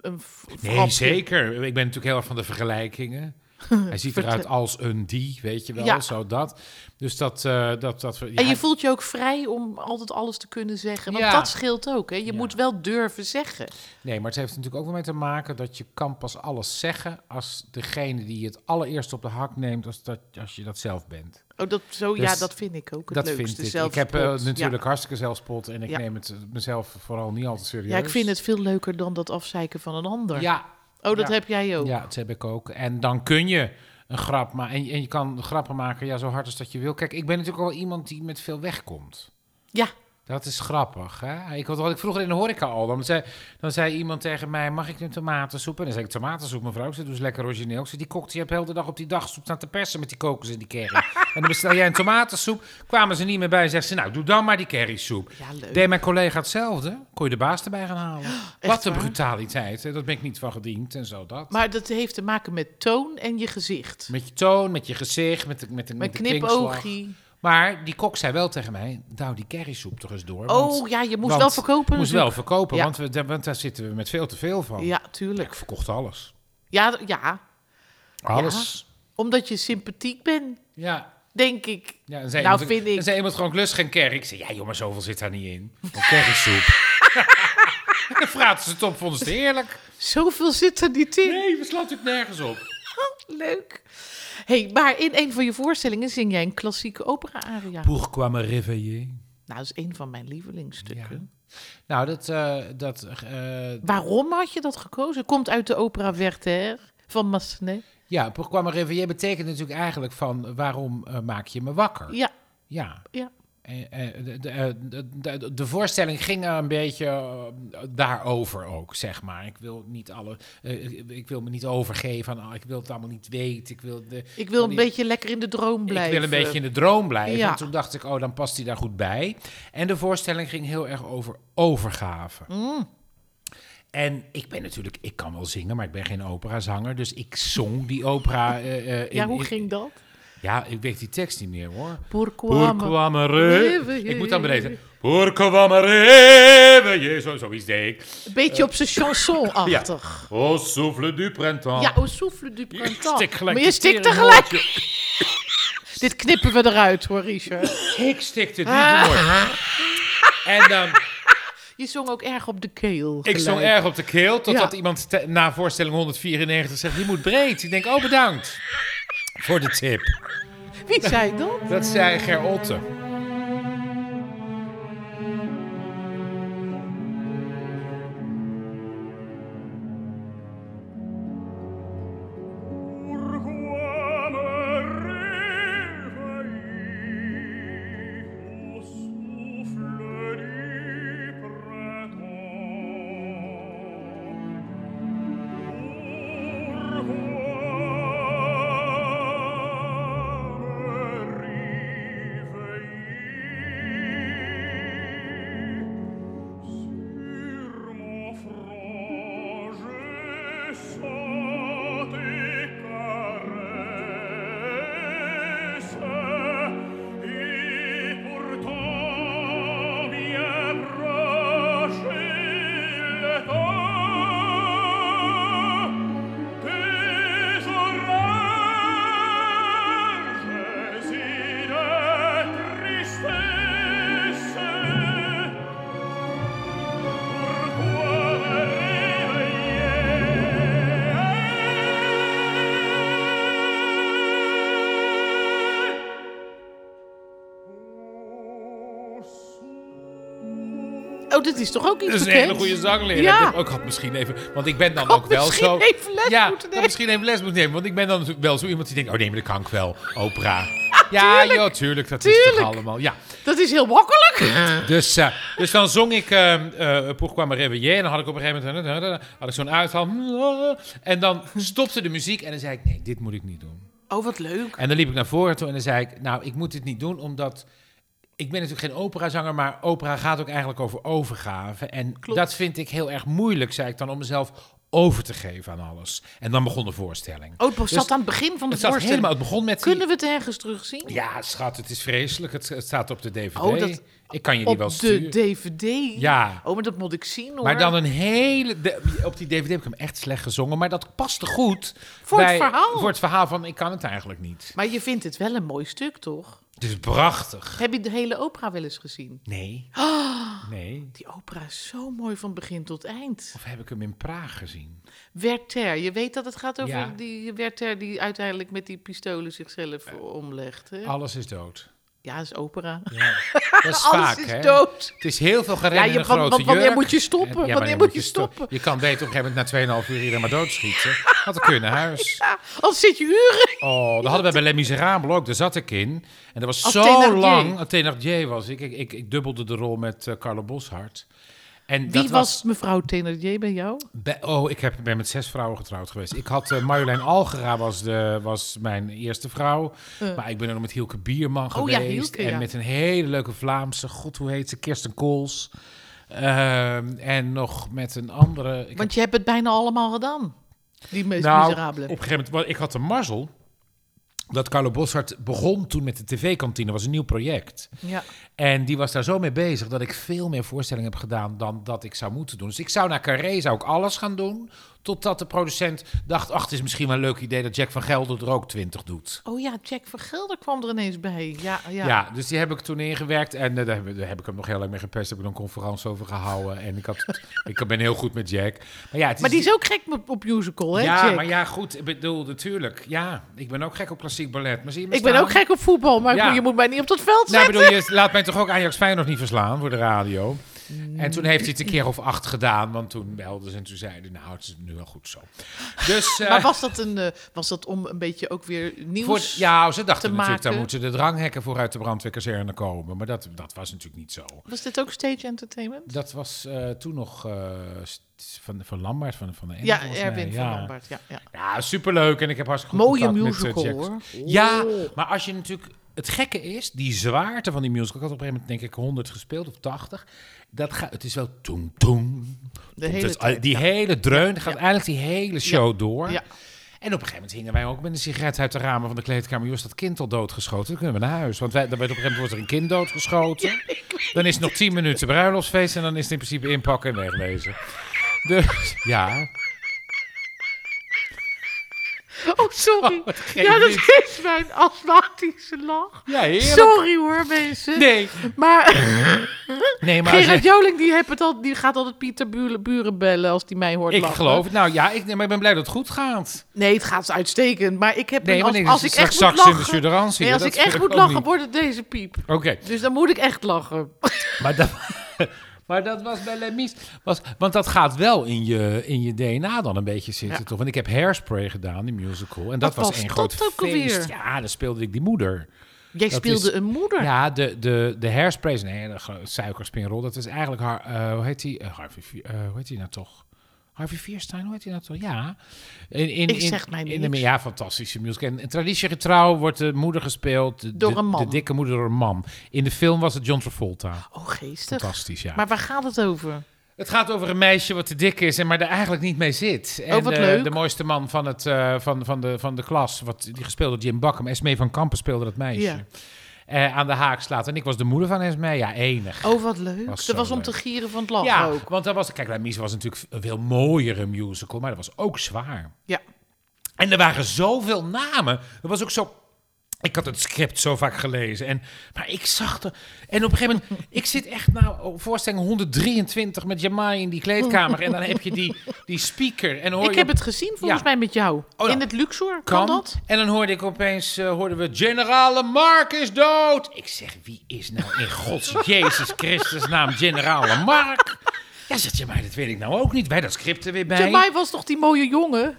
A: een v-
C: Nee,
A: grapje?
C: zeker. Ik ben natuurlijk heel erg van de vergelijkingen. Hij ziet eruit als een die, weet je wel,
A: Ja.
C: zo dat. Dus dat... eh, dat, dat ja,
A: En je voelt je ook vrij om altijd alles te kunnen zeggen. Want
C: Ja.
A: dat scheelt ook. Hè? Je moet wel durven zeggen.
C: Nee, maar het heeft natuurlijk ook wel mee te maken dat je kan pas alles zeggen... als degene die het allereerst op de hak neemt, als, dat, als je dat zelf bent.
A: Oh, dat, zo,
C: Dus
A: ja, dat vind ik ook het
C: dat
A: leukste.
C: vind ik. Ik
A: dus zelfspot.
C: heb eh,
A: Ja.
C: natuurlijk hartstikke zelfspot en ik
A: Ja.
C: neem het eh, mezelf vooral niet altijd serieus.
A: Ja, ik vind het veel leuker dan dat afzeiken van een ander.
C: Ja,
A: Oh, dat
C: Ja.
A: heb jij ook.
C: Ja, dat heb ik ook. En dan kun je een grap maken. En, en je kan grappen maken ja, zo hard als dat je wil. Kijk, ik ben natuurlijk wel iemand die met veel wegkomt.
A: Ja.
C: Dat is grappig, hè? Ik had, had ik vroeger in de horeca al. Dan zei, dan zei iemand tegen mij, mag ik een tomatensoep? En dan zei ik, tomatensoep, mevrouw. Ze doet lekker origineel. Ik zei, die kok die heb heel de dag op die dagsoep staan te persen met die kokos en die curry. en dan bestel jij een tomatensoep. Kwamen ze niet meer bij en zeggen ze, nou, doe dan maar die currysoep.
A: Ja, leuk.
C: Deed mijn collega hetzelfde, kon je de baas erbij gaan halen. Wat een
A: waar?
C: brutaliteit, hè? Dat ben ik niet van gediend en zo dat.
A: Maar dat heeft te maken met toon en je gezicht.
C: Met je toon, met je gezicht, met de, met de,
A: Met
C: met de kwinkslag.
A: knipoogie.
C: Maar die kok zei wel tegen mij, douw die currysoep toch eens door.
A: Oh, ja, je moest wel verkopen
C: Moest wel
A: natuurlijk.
C: verkopen,
A: Ja.
C: want, we, daar- want daar zitten we met veel te veel van.
A: Ja,
C: Ik
A: tuurlijk.
C: verkocht alles.
A: Ja, ja,
C: Alles.
A: omdat je sympathiek bent,
C: Ja.
A: denk ik.
C: ja. en zei
A: Nou,
C: iemand,
A: vind ik-
C: En zei iemand gewoon, ik lust geen curry. Ik zei, ja joh, maar zoveel zit daar niet in. Een currysoep. en dan vraten ze het op, vonden ze het heerlijk.
A: Zoveel zit er niet in.
C: Nee, we slaan natuurlijk nergens op.
A: Leuk. hey, maar in een van je voorstellingen zing jij een klassieke opera-aria.
C: Pourquoi me réveiller?
A: Nou, dat is een van mijn lievelingsstukken.
C: Nou, dat, eh, dat eh,
A: Waarom had je dat gekozen? Komt uit de opera Werther van Massenet.
C: Ja, programma Réveillé betekent natuurlijk eigenlijk van waarom eh, maak je me wakker? Ja.
A: Ja, ja.
C: Eh, eh, de- de- de- de- De voorstelling ging een beetje eh, daarover ook, zeg maar. Ik wil, niet alle, eh, ik- ik wil me niet overgeven aan, ah, ik wil het allemaal niet weten. Ik wil, de,
A: Ik wil een
C: die-
A: beetje lekker in de droom blijven.
C: ik wil een beetje in de droom blijven.
A: Ja.
C: En toen dacht ik, oh, dan past hij daar goed bij. En de voorstelling ging heel erg over overgave.
A: Mm.
C: En ik ben natuurlijk, ik kan wel zingen, maar ik ben geen operazanger. Dus ik zong die opera. eh, eh, in-
A: Ja, hoe
C: in-
A: ging dat?
C: Ja, ik weet die tekst niet meer hoor.
A: Pourquoi?
C: Pour
A: me-
C: kwam er even-
A: Leven,
C: Ik moet dan beneden.
A: Jezus.
C: Pour kwam er even Jezus, zoiets deed ik.
A: Een beetje op zijn chanson-achtig.
C: Au souffle du
A: Ja,
C: printemps.
A: au souffle du printemps.
C: stik gelijk
A: maar je
C: de
A: stikt
C: tering
A: tegelijk. Dit knippen we eruit hoor, Richard.
C: Ik stikte die
A: Ah.
C: door. En dan...
A: Je zong ook erg op de keel.
C: Ik
A: gelijk.
C: stond erg op de keel, totdat
A: Ja.
C: iemand te- na voorstelling 194 zegt, die moet breed. Ik denk, oh bedankt voor de tip.
A: Wie zei dat?
C: Dat zei Ger Otte.
A: Oh, dit is toch ook iets
C: Dat is een
A: bekend?
C: hele goede zangleraar.
A: Ja.
C: Ik, heb ook had misschien even, want ik ben dan
A: had
C: ook wel
A: misschien
C: zo.
A: even les
C: ja,
A: moeten
C: had
A: nemen.
C: misschien even les moeten nemen, want ik ben dan natuurlijk wel zo iemand die denkt, oh nee, maar dat kan ik wel, opera. Ja, joh, tuurlijk, dat is toch
A: Tuurlijk.
C: allemaal. Ja.
A: Dat is heel makkelijk.
C: Dus, eh, dus dan zong ik eh eh Pourquoi me réveiller. En dan had ik op een gegeven moment had ik zo'n uithaal. En dan stopte de muziek en dan zei ik, nee, dit moet ik niet doen.
A: Oh, wat leuk.
C: En dan liep ik naar voren toe en dan zei ik, nou, ik moet dit niet doen, omdat ik ben natuurlijk geen operazanger, maar opera gaat ook eigenlijk over overgave. En dat vind ik heel erg moeilijk, zei ik dan, om mezelf over te geven aan alles. En dan begon de voorstelling.
A: Oh, het zat
C: Dus
A: aan het begin van de
C: het zat
A: voorstelling.
C: helemaal, het begon met... die-
A: Kunnen we het ergens terugzien?
C: Ja, schat, het is vreselijk. Het, het staat op de DVD.
A: Oh, dat-
C: ik kan je die
A: Op
C: wel
A: de
C: sturen.
A: DVD?
C: Ja.
A: Oh, maar dat moet ik zien hoor.
C: Maar dan een hele. de- op die DVD heb ik hem echt slecht gezongen. Maar dat paste goed.
A: Voor het verhaal.
C: Voor het verhaal van ik kan het eigenlijk niet.
A: Maar je vindt het wel een mooi stuk, toch?
C: Het is prachtig.
A: Heb je de hele opera wel eens gezien?
C: Nee. Nee.
A: Die opera is zo mooi van begin tot eind.
C: Of heb ik hem in Praag gezien?
A: Werther, je weet dat het gaat over
C: Ja.
A: die Werther die uiteindelijk met die pistolen zichzelf omlegt. Hè?
C: Alles is dood.
A: Ja, dat is opera.
C: Ja. Dat is
A: Alles
C: vaak,
A: is
C: hè?
A: dood.
C: Het is heel veel gereden
A: Ja,
C: ja,
A: je-
C: in een
A: want-
C: grote
A: want wanneer
C: jurk.
A: moet je stoppen?
C: En- ja,
A: Wanneer moet je
C: sto-
A: stoppen?
C: Je kan beter op een gegeven moment na 2,5 uur iedereen maar doodschieten. Had ik kunnen huis.
A: Ja, al zit je uren.
C: Oh, dat hadden we bij Les Miserables ook. Daar zat ik in. En dat was
A: Als
C: zo
A: Thénardier.
C: lang. Als Thénardier was ik. Ik, ik, ik dubbelde de rol met eh, Carlo Boshart. En
A: Wie
C: dat
A: was, mevrouw Thénardier bij jou?
C: Be- oh, ik heb, ben met zes vrouwen getrouwd geweest. Ik had eh, Marjolein Algera was, de, was mijn eerste vrouw. Maar ik ben ook nog met Hielke Bierman
A: Eh. Oh ja,
C: geweest.
A: Hielke,
C: en
A: ja.
C: met een hele leuke Vlaamse, god hoe heet ze, Kirsten Kools. Ehm, en nog met een andere... ik
A: Want je hebt het bijna allemaal gedaan. Die meest
C: nou,
A: miserabele.
C: Op een gegeven moment, wa- ik had de mazzel dat Carlo Bossart begon toen met de tv-kantine. was een nieuw project.
A: Ja.
C: En die was daar zo mee bezig dat ik veel meer voorstellingen heb gedaan dan dat ik zou moeten doen. Dus ik zou naar Carré zou ik alles gaan doen. Totdat de producent dacht, ach, het is misschien wel een leuk idee dat Jack van Gelder er ook 20 doet.
A: Oh ja, Jack van Gelder kwam er ineens bij. Ja, ja.
C: Ja. dus die heb ik toen ingewerkt en eh, daar, heb, daar heb ik hem nog heel lang mee gepest. Daar heb ik een conferentie over gehouden en ik, had, ik ben heel goed met Jack. Maar ja, het is
A: Maar die is ook gek met- op musical, hè?
C: ja,
A: Jack?
C: maar ja, goed. Ik bedoel, natuurlijk. Ja, ik ben ook gek op klassiek ballet. Maar zie je me
A: ik ben
C: staan?
A: ook gek op voetbal, maar
C: Ja.
A: je moet mij niet op dat veld
C: Nou, ik
A: zetten.
C: bedoel, je laat mij toch ook Ajax Feyenoord niet verslaan voor de radio?
A: Mm.
C: En toen heeft hij het een keer of acht gedaan, want toen belden ze en toen zeiden, nou, het is nu wel goed zo. Dus, eh,
A: Maar was dat, een, eh, was dat om een beetje ook weer nieuws?
C: voor, ja, ze dachten
A: te
C: natuurlijk, dan
A: maken.
C: moeten de dranghekken vooruit de brandweerkazerne komen. Maar dat, dat was natuurlijk niet zo.
A: Was dit ook stage entertainment?
C: Dat was eh, toen nog eh, st- van, van Lambert, van, van de Ende,
A: Ja,
C: volgens mij.
A: Erwin van
C: Ja.
A: Lambert. Ja, ja.
C: Ja, superleuk. En ik heb hartstikke goed
A: Mooie
C: contact met, eh,
A: musical
C: Jack-
A: hoor. Oh.
C: Ja, maar als je natuurlijk... Het gekke is, die zwaarte van die musical... Ik had op een gegeven moment denk ik 100 gespeeld of 80. Dat gaat, het is wel toem toem.
A: De
C: Komt
A: hele
C: het-
A: tijd,
C: die hele dreun, gaat eigenlijk die hele show door.
A: Ja.
C: En op een gegeven moment hingen wij ook met een sigaret uit de ramen van de kleedkamer. Joh, is dat kind al doodgeschoten? Dan kunnen we naar huis. Want wij, dan werd op een gegeven moment wordt er een kind doodgeschoten. dan is het nog tien minuten bruiloftsfeest. En dan is het in principe inpakken en wegwezen. Dus ja,
A: Oh, sorry.
C: Oh, het geeft
A: ja, dat
C: niet.
A: is mijn astmatische lach.
C: Ja, heerlijk.
A: Sorry hoor, mensen.
C: Nee,
A: Maar
C: nee maar als
A: Gerard
C: je-
A: Joling die, heeft het al, die gaat altijd Pieter Buren, Buren bellen als die mij hoort
C: ik
A: lachen.
C: geloof het. Nou ja, ik, nee, maar ik ben blij dat het goed gaat.
A: Nee, het gaat uitstekend. Maar ik heb
C: Nee,
A: een-
C: maar
A: als,
C: nee,
A: als
C: dus
A: ik echt moet
C: straks in de
A: lachen...
C: surderantie,
A: nee,
C: hè,
A: als
C: dat
A: ik echt
C: wil
A: moet
C: ook
A: lachen,
C: niet.
A: wordt het deze piep.
C: Oké,
A: Dus dan moet ik echt lachen.
C: maar, dat, maar dat was bij Lemies. Was, want dat gaat wel in je, in je DNA dan een beetje zitten,
A: Ja.
C: toch? Want ik heb Hairspray gedaan, die musical. En dat
A: Wat was
C: was één
A: dat
C: groot
A: ook alweer?
C: feest. Ja, daar speelde ik die moeder.
A: Jij
C: Dat
A: speelde
C: is-
A: een moeder.
C: Ja, de, de, de Hairspray is een hele gro- suikerspinrol. Dat is eigenlijk, Har- eh, hoe heet die? Eh, Harvey, Fi- eh, hoe heet die nou toch? Harvey Fierstein, hoe heet die nou toch? Ja. In, in,
A: Ik zeg mij
C: in de-
A: niks.
C: Ja, fantastische musical. En, en traditiegetrouw wordt de moeder gespeeld. de-
A: Door
C: de-
A: een man.
C: De dikke moeder door een man. In de film was het John Travolta.
A: Oh, geestig.
C: Fantastisch, ja.
A: Maar waar gaat het over?
C: Het gaat over een meisje wat te dik is en maar er eigenlijk niet mee zit. En
A: Oh, wat
C: eh,
A: leuk.
C: de mooiste man van, het, eh, van, van, de, van de klas, wat, die gespeeld door Jim Bakken. Esmee van Kampen speelde dat meisje.
A: Ja.
C: Eh, aan de haak slaat. En ik was de moeder van Esmee. Ja, enig.
A: Oh, wat leuk.
C: Was
A: dat
C: zo
A: was om
C: leuk.
A: te gieren van het lachen
C: ja,
A: ook.
C: want dat was... Kijk, La Mise was natuurlijk een veel mooiere musical, maar dat was ook zwaar.
A: Ja.
C: En er waren zoveel namen. Er was ook zo... Ik had het script zo vaak gelezen. En, maar ik zag er... En op een gegeven moment... Ik zit echt nou... Voorstelling 123 met Jamai in die kleedkamer. En dan heb je die, die speaker. En hoor
A: Ik
C: je
A: heb het gezien volgens
C: Ja.
A: mij met jou.
C: nou.
A: In het Luxor, kan,
C: kan.
A: dat?
C: En dan hoorde ik opeens, eh, hoorden we, generale Mark is dood. Ik zeg, wie is nou in gods Jezus Christus naam generale Mark? Ja, zegt je, maar dat weet ik nou ook niet. Wij dat script er weer bij.
A: Bij mij was toch die mooie jongen?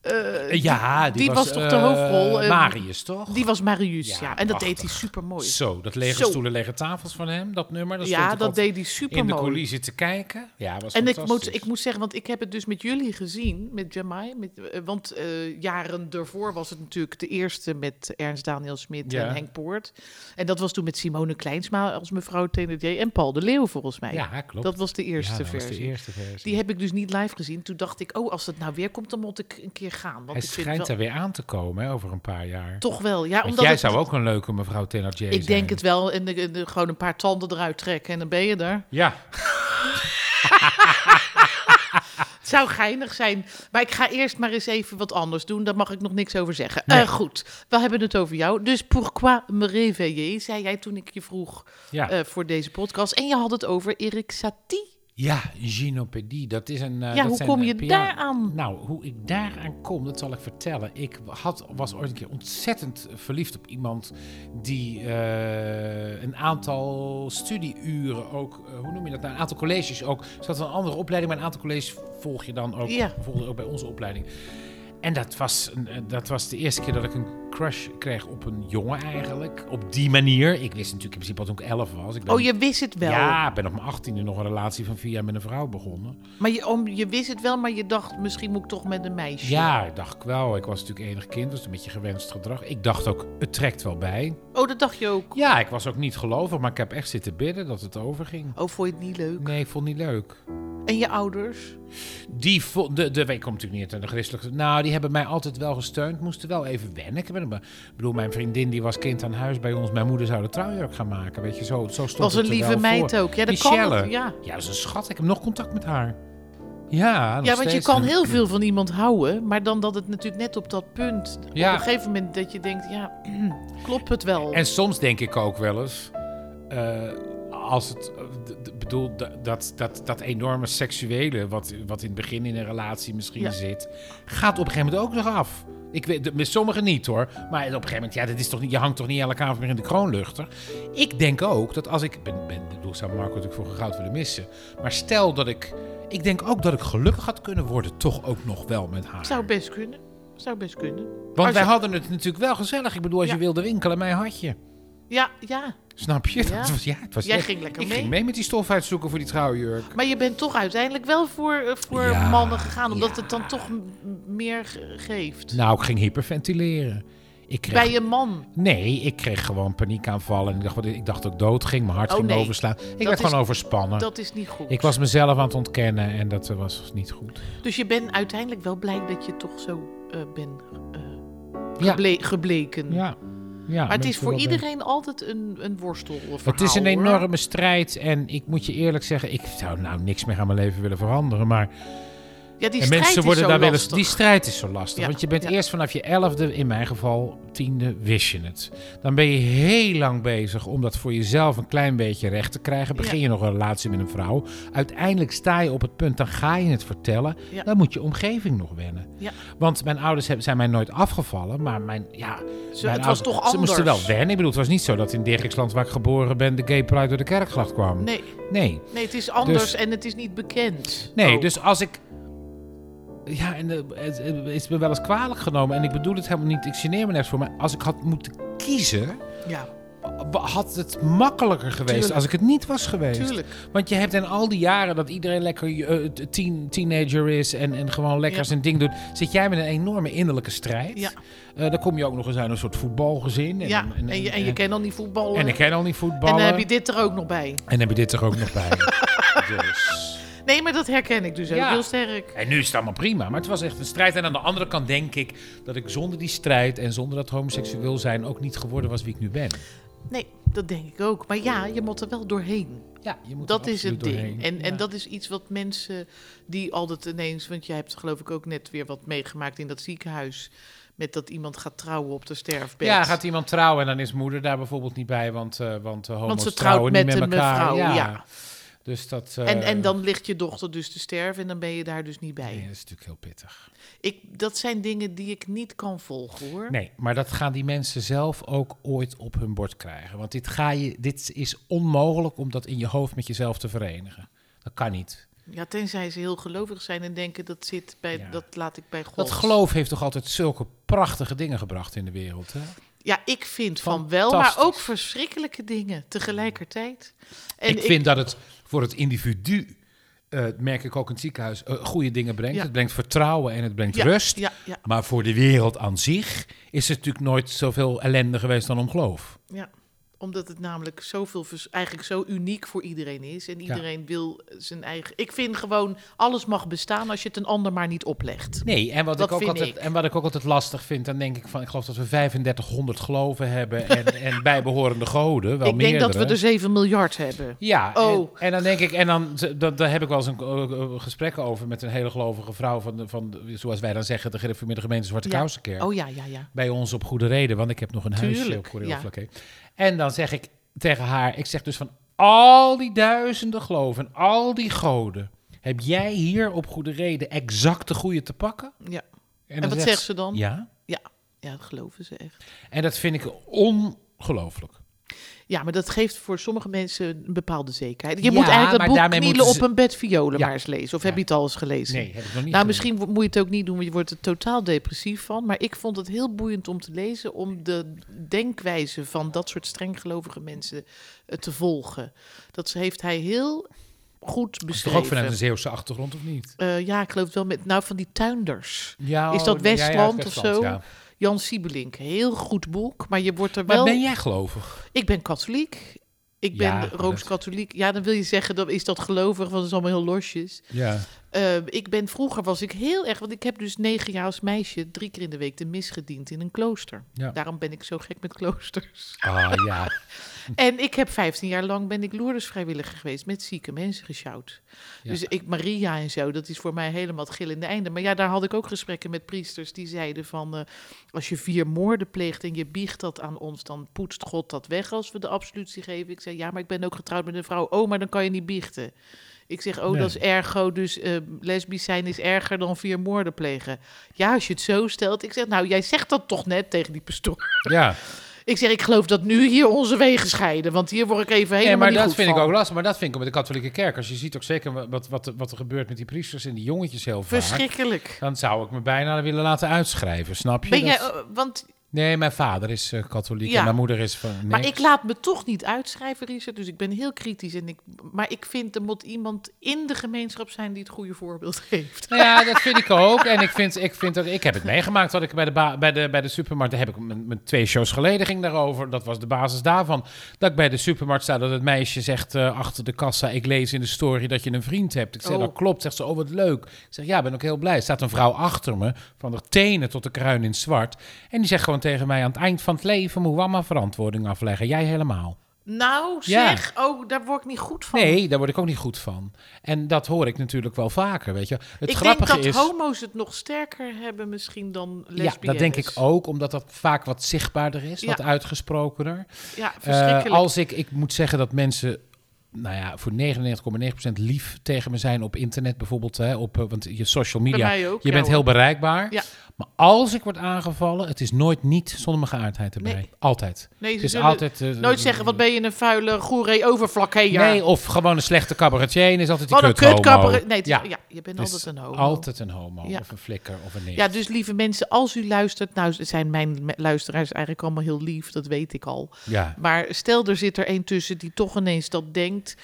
C: Eh, ja, die,
A: die was toch de
C: eh,
A: hoofdrol, eh,
C: Marius, toch?
A: Die was Marius, ja.
C: Ja,
A: En dat
C: prachtig.
A: deed hij supermooi.
C: Zo, dat lege
A: Zo.
C: stoelen, lege tafels van hem, dat nummer. Dat
A: ja,
C: stond ik
A: dat
C: altijd
A: deed hij
C: In de
A: supermooi.
C: coulissen te kijken. Ja, was
A: En ik
C: fantastisch.
A: moet, ik moet zeggen, want ik heb het dus met jullie gezien, met Jamai. Met, eh, want eh, jaren daarvoor was het natuurlijk de eerste met Ernst Daniel Smit
C: Ja.
A: en Henk Poort. En dat was toen met Simone Kleinsma als mevrouw Thénardier en Paul de Leeuw volgens mij.
C: Ja, klopt.
A: Dat was de eerste
C: Ja, dat was
A: versie.
C: de eerste versie.
A: Die heb ik dus niet live gezien. Toen dacht ik, oh, als dat nou weer komt, dan moet ik een keer gaan. Want
C: Hij
A: ik vind
C: schijnt
A: wel,
C: er weer aan te komen hè, over een paar jaar.
A: Toch wel, ja.
C: Want
A: Omdat
C: jij
A: het-
C: zou ook een leuke mevrouw Thénardier zijn.
A: Ik denk het wel. En de- de- gewoon een paar tanden eruit trekken en dan ben je er.
C: Ja,
A: Het zou geinig zijn. Maar ik ga eerst maar eens even wat anders doen. Daar mag ik nog niks over zeggen.
C: Nee.
A: Eh, goed, we hebben het over jou. Dus pourquoi me réveiller, zei jij toen ik je vroeg
C: ja.
A: eh, voor deze podcast. En je had het over Erik Satie.
C: Ja, gynopedie, dat is een... eh, dat
A: hoe
C: zijn,
A: kom
C: eh,
A: je
C: pia-
A: daaraan?
C: Nou, hoe ik daaraan kom, dat zal ik vertellen. Ik had, was ooit een keer ontzettend verliefd op iemand die eh, een aantal studieuren ook... eh, hoe noem je dat nou? Een aantal colleges ook. Ze had een andere opleiding, maar een aantal colleges volg je dan ook,
A: Ja.
C: volgde ook bij onze opleiding. En dat was, een- eh, dat was de eerste keer dat ik een crush kreeg op een jongen eigenlijk. Op die manier. Ik wist natuurlijk in principe al toen ik elf was. Ik ben
A: Oh, je wist het wel.
C: ja, ik ben op mijn achttiende nog een relatie van vier jaar met een vrouw begonnen.
A: Maar je, om, je wist het wel, maar je dacht misschien moet ik toch met een meisje.
C: Ja, dacht ik wel. Ik was natuurlijk enig kind, was een beetje gewenst gedrag. Ik dacht ook, het trekt wel bij.
A: Oh, dat dacht je ook.
C: Ja, ik was ook niet gelovig, maar ik heb echt zitten bidden dat het overging.
A: Oh, vond je het niet leuk?
C: Nee, ik vond het niet leuk.
A: En je ouders?
C: Die vo- de, de, ik kom natuurlijk niet uit een christelijke... Nou, die hebben mij altijd wel gesteund. Moesten wel even wennen. Ik ben- ik bedoel, mijn vriendin die was kind aan huis bij ons. Mijn moeder zou de trouwjurk gaan maken. Weet je, zo, zo stond
A: Was
C: het
A: een
C: er
A: lieve
C: wel
A: meid
C: voor.
A: ook. Ja, dat
C: Michelle.
A: kan. Ja.
C: Ja, dat is een schat. Ik heb nog contact met haar. Ja, nog
A: Ja, want je
C: steeds.
A: kan heel veel van iemand houden, maar dan dat het natuurlijk net op dat punt,
C: Ja.
A: op een gegeven moment dat je denkt, ja, klopt het wel?
C: En soms denk ik ook wel eens, eh, als het, eh, d- d- bedoel, d- dat, dat, dat enorme seksuele, wat, wat in het begin in een relatie misschien
A: Ja.
C: zit, gaat op een gegeven moment ook nog af. Ik weet, de- met sommigen niet hoor. Maar op een gegeven moment, ja, dat is toch niet, je hangt toch niet elke avond meer in de kroonluchter. Ik denk ook dat als ik. Ben, ben, ik bedoel, ik zou Marco natuurlijk voor geen goud willen missen. Maar stel dat ik. Ik denk ook dat ik gelukkig had kunnen worden, toch ook nog wel met haar.
A: Zou best kunnen. Zou best kunnen.
C: Want
A: als
C: wij
A: je-
C: hadden het natuurlijk wel gezellig. Ik bedoel, als je
A: Ja.
C: wilde winkelen, mij had je.
A: Ja, ja.
C: Snap je?
A: Ja.
C: Dat was, ja, het was
A: Jij
C: echt-
A: ging lekker
C: ik
A: mee.
C: ging mee met die stof uitzoeken voor die trouwjurk.
A: Maar je bent toch uiteindelijk wel voor, eh, voor
C: Ja,
A: mannen gegaan, omdat
C: ja.
A: het dan toch m- meer ge- geeft.
C: Nou, ik ging hyperventileren. Ik kreeg,
A: Bij een man.
C: Nee, ik kreeg gewoon paniekaanvallen. En ik dacht, wat- ik dacht dat ik dood ging. Mijn hart
A: Oh,
C: ging
A: nee.
C: overslaan. Ik
A: Dat
C: werd gewoon
A: is-
C: overspannen.
A: Dat is niet goed.
C: Ik was mezelf aan het ontkennen en dat eh, was niet goed.
A: Dus je bent uiteindelijk wel blij dat je toch zo eh bent eh,
C: Ja.
A: ble- gebleken.
C: Ja. ja
A: Maar het
C: ben
A: is
C: ik
A: voor
C: wel bij.
A: iedereen altijd een, een worstel.
C: Nou, Het is een enorme strijd en ik moet je eerlijk zeggen, ik zou nou niks meer aan mijn leven willen veranderen. Maar
A: Ja, die
C: en
A: strijd
C: mensen
A: is
C: worden
A: zo
C: daar wel eens.
A: lastig.
C: Die strijd is zo lastig.
A: Ja,
C: Want je bent
A: ja.
C: eerst vanaf je elfde, in mijn geval tiende, wist je het. Dan ben je heel lang bezig om dat voor jezelf een klein beetje recht te krijgen. Begin
A: Ja.
C: je nog een relatie met een vrouw. Uiteindelijk sta je op het punt, dan ga je het vertellen.
A: Ja.
C: Dan moet je omgeving nog wennen.
A: Ja.
C: Want mijn ouders hebben, zijn mij nooit afgevallen. Maar mijn, ja, mijn
A: het was toch
C: Ze moesten wel
A: anders?
C: wennen. Ik bedoel, het was niet zo dat in Dirksland, waar ik geboren ben, de gay pride door de kerkgracht kwam.
A: Nee,
C: nee.
A: nee, het is anders
C: Dus-
A: en het is niet bekend.
C: Nee,
A: ook.
C: dus als ik. Ja, en eh, het, het is me wel eens kwalijk genomen. En ik bedoel het helemaal niet. Ik geneer me nergens voor. Maar als ik had moeten kiezen.
A: Ja,
C: wa- had het makkelijker geweest
A: Tuurlijk.
C: als ik het niet was geweest.
A: tuurlijk.
C: Want je hebt in al die jaren dat iedereen lekker eh, t- teen, teenager is. En, en gewoon lekker
A: Ja.
C: zijn ding doet. Zit jij met een enorme innerlijke strijd.
A: Ja.
C: Eh, dan kom je ook nog eens uit een soort voetbalgezin. En,
A: ja,
C: en,
A: en, je, en je
C: en-
A: kent al niet voetballen.
C: en ik ken al niet
A: En
C: voetballen.
A: dan heb je dit er ook nog bij.
C: en heb je dit er ook nog bij. dus.
A: Nee, maar dat herken ik dus ook
C: Ja.
A: heel sterk.
C: En nu is het allemaal prima, maar het was echt een strijd. En aan de andere kant denk ik dat ik zonder die strijd en zonder dat homoseksueel zijn ook niet geworden was wie ik nu ben.
A: Nee, dat denk ik ook. Maar ja, je moet er wel doorheen.
C: Ja, je moet
A: Dat is het ding. En, en
C: Ja.
A: dat is iets wat mensen die altijd ineens... Want jij hebt geloof ik ook net weer wat meegemaakt in dat ziekenhuis... met dat iemand gaat trouwen op de sterfbed.
C: Ja, gaat iemand trouwen en dan is moeder daar bijvoorbeeld niet bij, want, eh want eh, homo's
A: Want ze
C: trouwen
A: trouwt
C: niet
A: met
C: met
A: een
C: elkaar.
A: mevrouw, ja.
C: Dus dat... eh,
A: En, en dan ligt je dochter dus te sterven en dan ben je daar dus niet bij.
C: Nee, dat is natuurlijk heel pittig.
A: Ik, dat zijn dingen die ik niet kan volgen, hoor.
C: Nee, maar dat gaan die mensen zelf ook ooit op hun bord krijgen. Want dit, ga je, dit is onmogelijk om dat in je hoofd met jezelf te verenigen. Dat kan niet.
A: Ja, tenzij ze heel gelovig zijn en denken dat zit bij...
C: Ja.
A: Dat laat ik bij God.
C: Dat geloof heeft toch altijd zulke prachtige dingen gebracht in de wereld, hè?
A: Ja, ik vind van wel, maar
C: Fantastisch.
A: ook verschrikkelijke dingen tegelijkertijd. En
C: ik vind dat het voor het individu, eh, dat merk ik ook in het ziekenhuis, eh, goede dingen brengt.
A: Ja.
C: Het brengt vertrouwen en het brengt
A: Ja,
C: rust.
A: ja, ja.
C: Maar voor de wereld aan zich is het natuurlijk nooit zoveel ellende geweest dan om geloof.
A: Ja, omdat het namelijk zoveel, vers- eigenlijk zo uniek voor iedereen is. En iedereen wil zijn eigen... Ik vind gewoon, alles mag bestaan als je het een ander maar niet oplegt.
C: Nee, en wat,
A: Dat
C: ik ook
A: vind
C: altijd,
A: ik.
C: en wat ik ook altijd lastig vind, dan denk ik van, ik geloof dat we 3500 geloven hebben en, en bijbehorende goden, wel
A: ik denk dat we
C: meerdere.
A: er 7 miljard hebben.
C: Ja,
A: Oh.
C: en, en dan denk ik, en dan dat, daar heb ik wel eens een eh, eh, gesprek over met een hele gelovige vrouw van, de- van de- zoals wij dan zeggen, de gereformeerde gemeente Zwarte
A: Ja.
C: Kousenkerk.
A: Oh ja, ja, ja.
C: Bij ons op goede reden, want ik heb nog een huisje
A: Tuurlijk,
C: op Corée
A: ja.
C: En dan zeg ik tegen haar, ik zeg dus van al die duizenden geloven, en al die goden, heb jij hier op goede reden exact de goede te pakken?
A: Ja,
C: En,
A: wat zegt ze dan?
C: Ja,
A: ja. ja dat geloven ze echt.
C: en dat vind ik ongelooflijk.
A: Ja, maar dat geeft voor sommige mensen een bepaalde zekerheid. Je
C: Ja,
A: moet eigenlijk
C: maar
A: dat boek
C: daarmee
A: Knielen
C: moeten ze-
A: op een bed violen
C: Ja.
A: maar eens lezen. Of
C: Ja.
A: heb je het al eens gelezen?
C: Nee, heb ik nog niet
A: Nou,
C: gedaan.
A: misschien wo- moet je het ook niet doen, want je wordt er totaal depressief van. Maar ik vond het heel boeiend om te lezen, om de denkwijze van dat soort strenggelovige mensen eh, te volgen. Dat ze- heeft hij heel goed
C: Is toch ook vanuit een
A: beschreven.
C: Zeeuwse achtergrond of niet?
A: Eh, ja, ik geloof het wel met, nou van die tuinders.
C: Ja,
A: Is dat
C: oh, ja, ja,
A: Westland of
C: Westland,
A: zo?
C: ja.
A: Jan Siebelink, heel goed boek, maar je wordt er
C: Maar
A: wel...
C: ben jij gelovig?
A: Ik ben katholiek. Ik ben
C: Ja,
A: rooms-katholiek. Ja, dan wil je zeggen, dat is dat gelovig, want dat is allemaal heel losjes.
C: Ja.
A: Eh, ik ben vroeger was ik heel erg, want ik heb dus negen jaar als meisje drie keer in de week de mis gediend in een klooster.
C: Ja.
A: Daarom ben ik zo gek met kloosters.
C: Ah ja.
A: en ik heb vijftien jaar lang ben ik Lourdes vrijwilliger geweest met zieke mensen gesjouwd.
C: Ja.
A: Dus ik Maria en zo, dat is voor mij helemaal het gillende einde. Maar ja, daar had ik ook gesprekken met priesters die zeiden van eh, als je vier moorden pleegt en je biegt dat aan ons, dan poetst God dat weg als we de absolutie geven. Ik zei ja, maar ik ben ook getrouwd met een vrouw. Oh, maar dan kan je niet biechten. Ik zeg, oh,
C: Nee.
A: dat is ergo, dus eh, lesbisch zijn is erger dan vier moorden plegen. Ja, als je het zo stelt. Ik zeg, nou, jij zegt dat toch net tegen die pastoor.
C: Ja,
A: Ik zeg, ik geloof dat nu hier onze wegen scheiden, want hier word ik even helemaal
C: nee, maar
A: niet
C: dat
A: goed
C: vind ik
A: van.
C: ook lastig. Maar dat vind ik ook met de katholieke kerk. Als je ziet ook zeker wat, wat, wat er gebeurt met die priesters en die jongetjes heel vaak.
A: Verschrikkelijk.
C: Dan zou ik me bijna willen laten uitschrijven, snap je?
A: Ben jij,
C: Dat-
A: eh, want,
C: Nee, mijn vader is eh, katholiek
A: Ja.
C: en mijn moeder is van
A: maar
C: niks.
A: ik laat me toch niet uitschrijven, Richard, dus ik ben heel kritisch. En ik, maar ik vind, er moet iemand in de gemeenschap zijn die het goede voorbeeld geeft.
C: Nou ja, dat vind ik ook. En ik, vind, ik, vind ook, ik heb het meegemaakt wat ik bij de, ba- bij de, bij de supermarkt. Daar heb ik mijn, mijn twee shows geleden ging daarover. Dat was de basis daarvan. Dat ik bij de supermarkt sta dat het meisje zegt eh, achter de kassa: Ik lees in de story dat je een vriend hebt. Ik zeg:
A: Oh.
C: Dat klopt. Zegt ze: Oh, wat leuk. Ik zeg: Ja, ben ook heel blij. Er Staat een vrouw achter me, van de tenen tot de kruin in zwart. En die zegt gewoon tegen mij: Aan het eind van het leven moet mama verantwoording afleggen. Jij helemaal.
A: Nou,
C: Ja.
A: zeg, oh, daar word ik niet goed van.
C: Nee, daar word ik ook niet goed van. En dat hoor ik natuurlijk wel vaker, weet je. Het
A: ik
C: grappige
A: denk dat
C: is,
A: homo's het nog sterker hebben misschien dan lesbiennes.
C: Ja, dat denk ik ook, omdat dat vaak wat zichtbaarder is,
A: Ja.
C: wat uitgesprokener.
A: Ja,
C: Eh,
A: verschrikkelijk.
C: als ik, ik moet zeggen dat mensen, nou ja, voor 99,9% lief tegen me zijn op internet bijvoorbeeld, hè, op, eh, want je social media,
A: Bij mij ook,
C: je
A: ja
C: bent
A: hoor.
C: heel bereikbaar.
A: Ja.
C: Maar als ik word aangevallen, het is nooit niet zonder mijn geaardheid erbij.
A: Nee.
C: Altijd.
A: Nee, ze
C: het is
A: zullen
C: altijd, eh,
A: Nooit zeggen, wat ben je een vuile goeree overvlakkeja.
C: Nee, of gewoon een slechte cabaretier en is altijd die
A: wat een
C: kut homo.
A: kutkapperen. Nee, het is-
C: ja.
A: ja. je bent
C: Dus
A: altijd een homo.
C: Altijd een homo,
A: Ja.
C: of een flikker, of een neef.
A: Ja, dus lieve mensen, als u luistert... Nou, ze zijn mijn me- luisteraars eigenlijk allemaal heel lief, dat weet ik al.
C: ja.
A: Maar stel, er zit er een tussen die toch ineens dat denkt...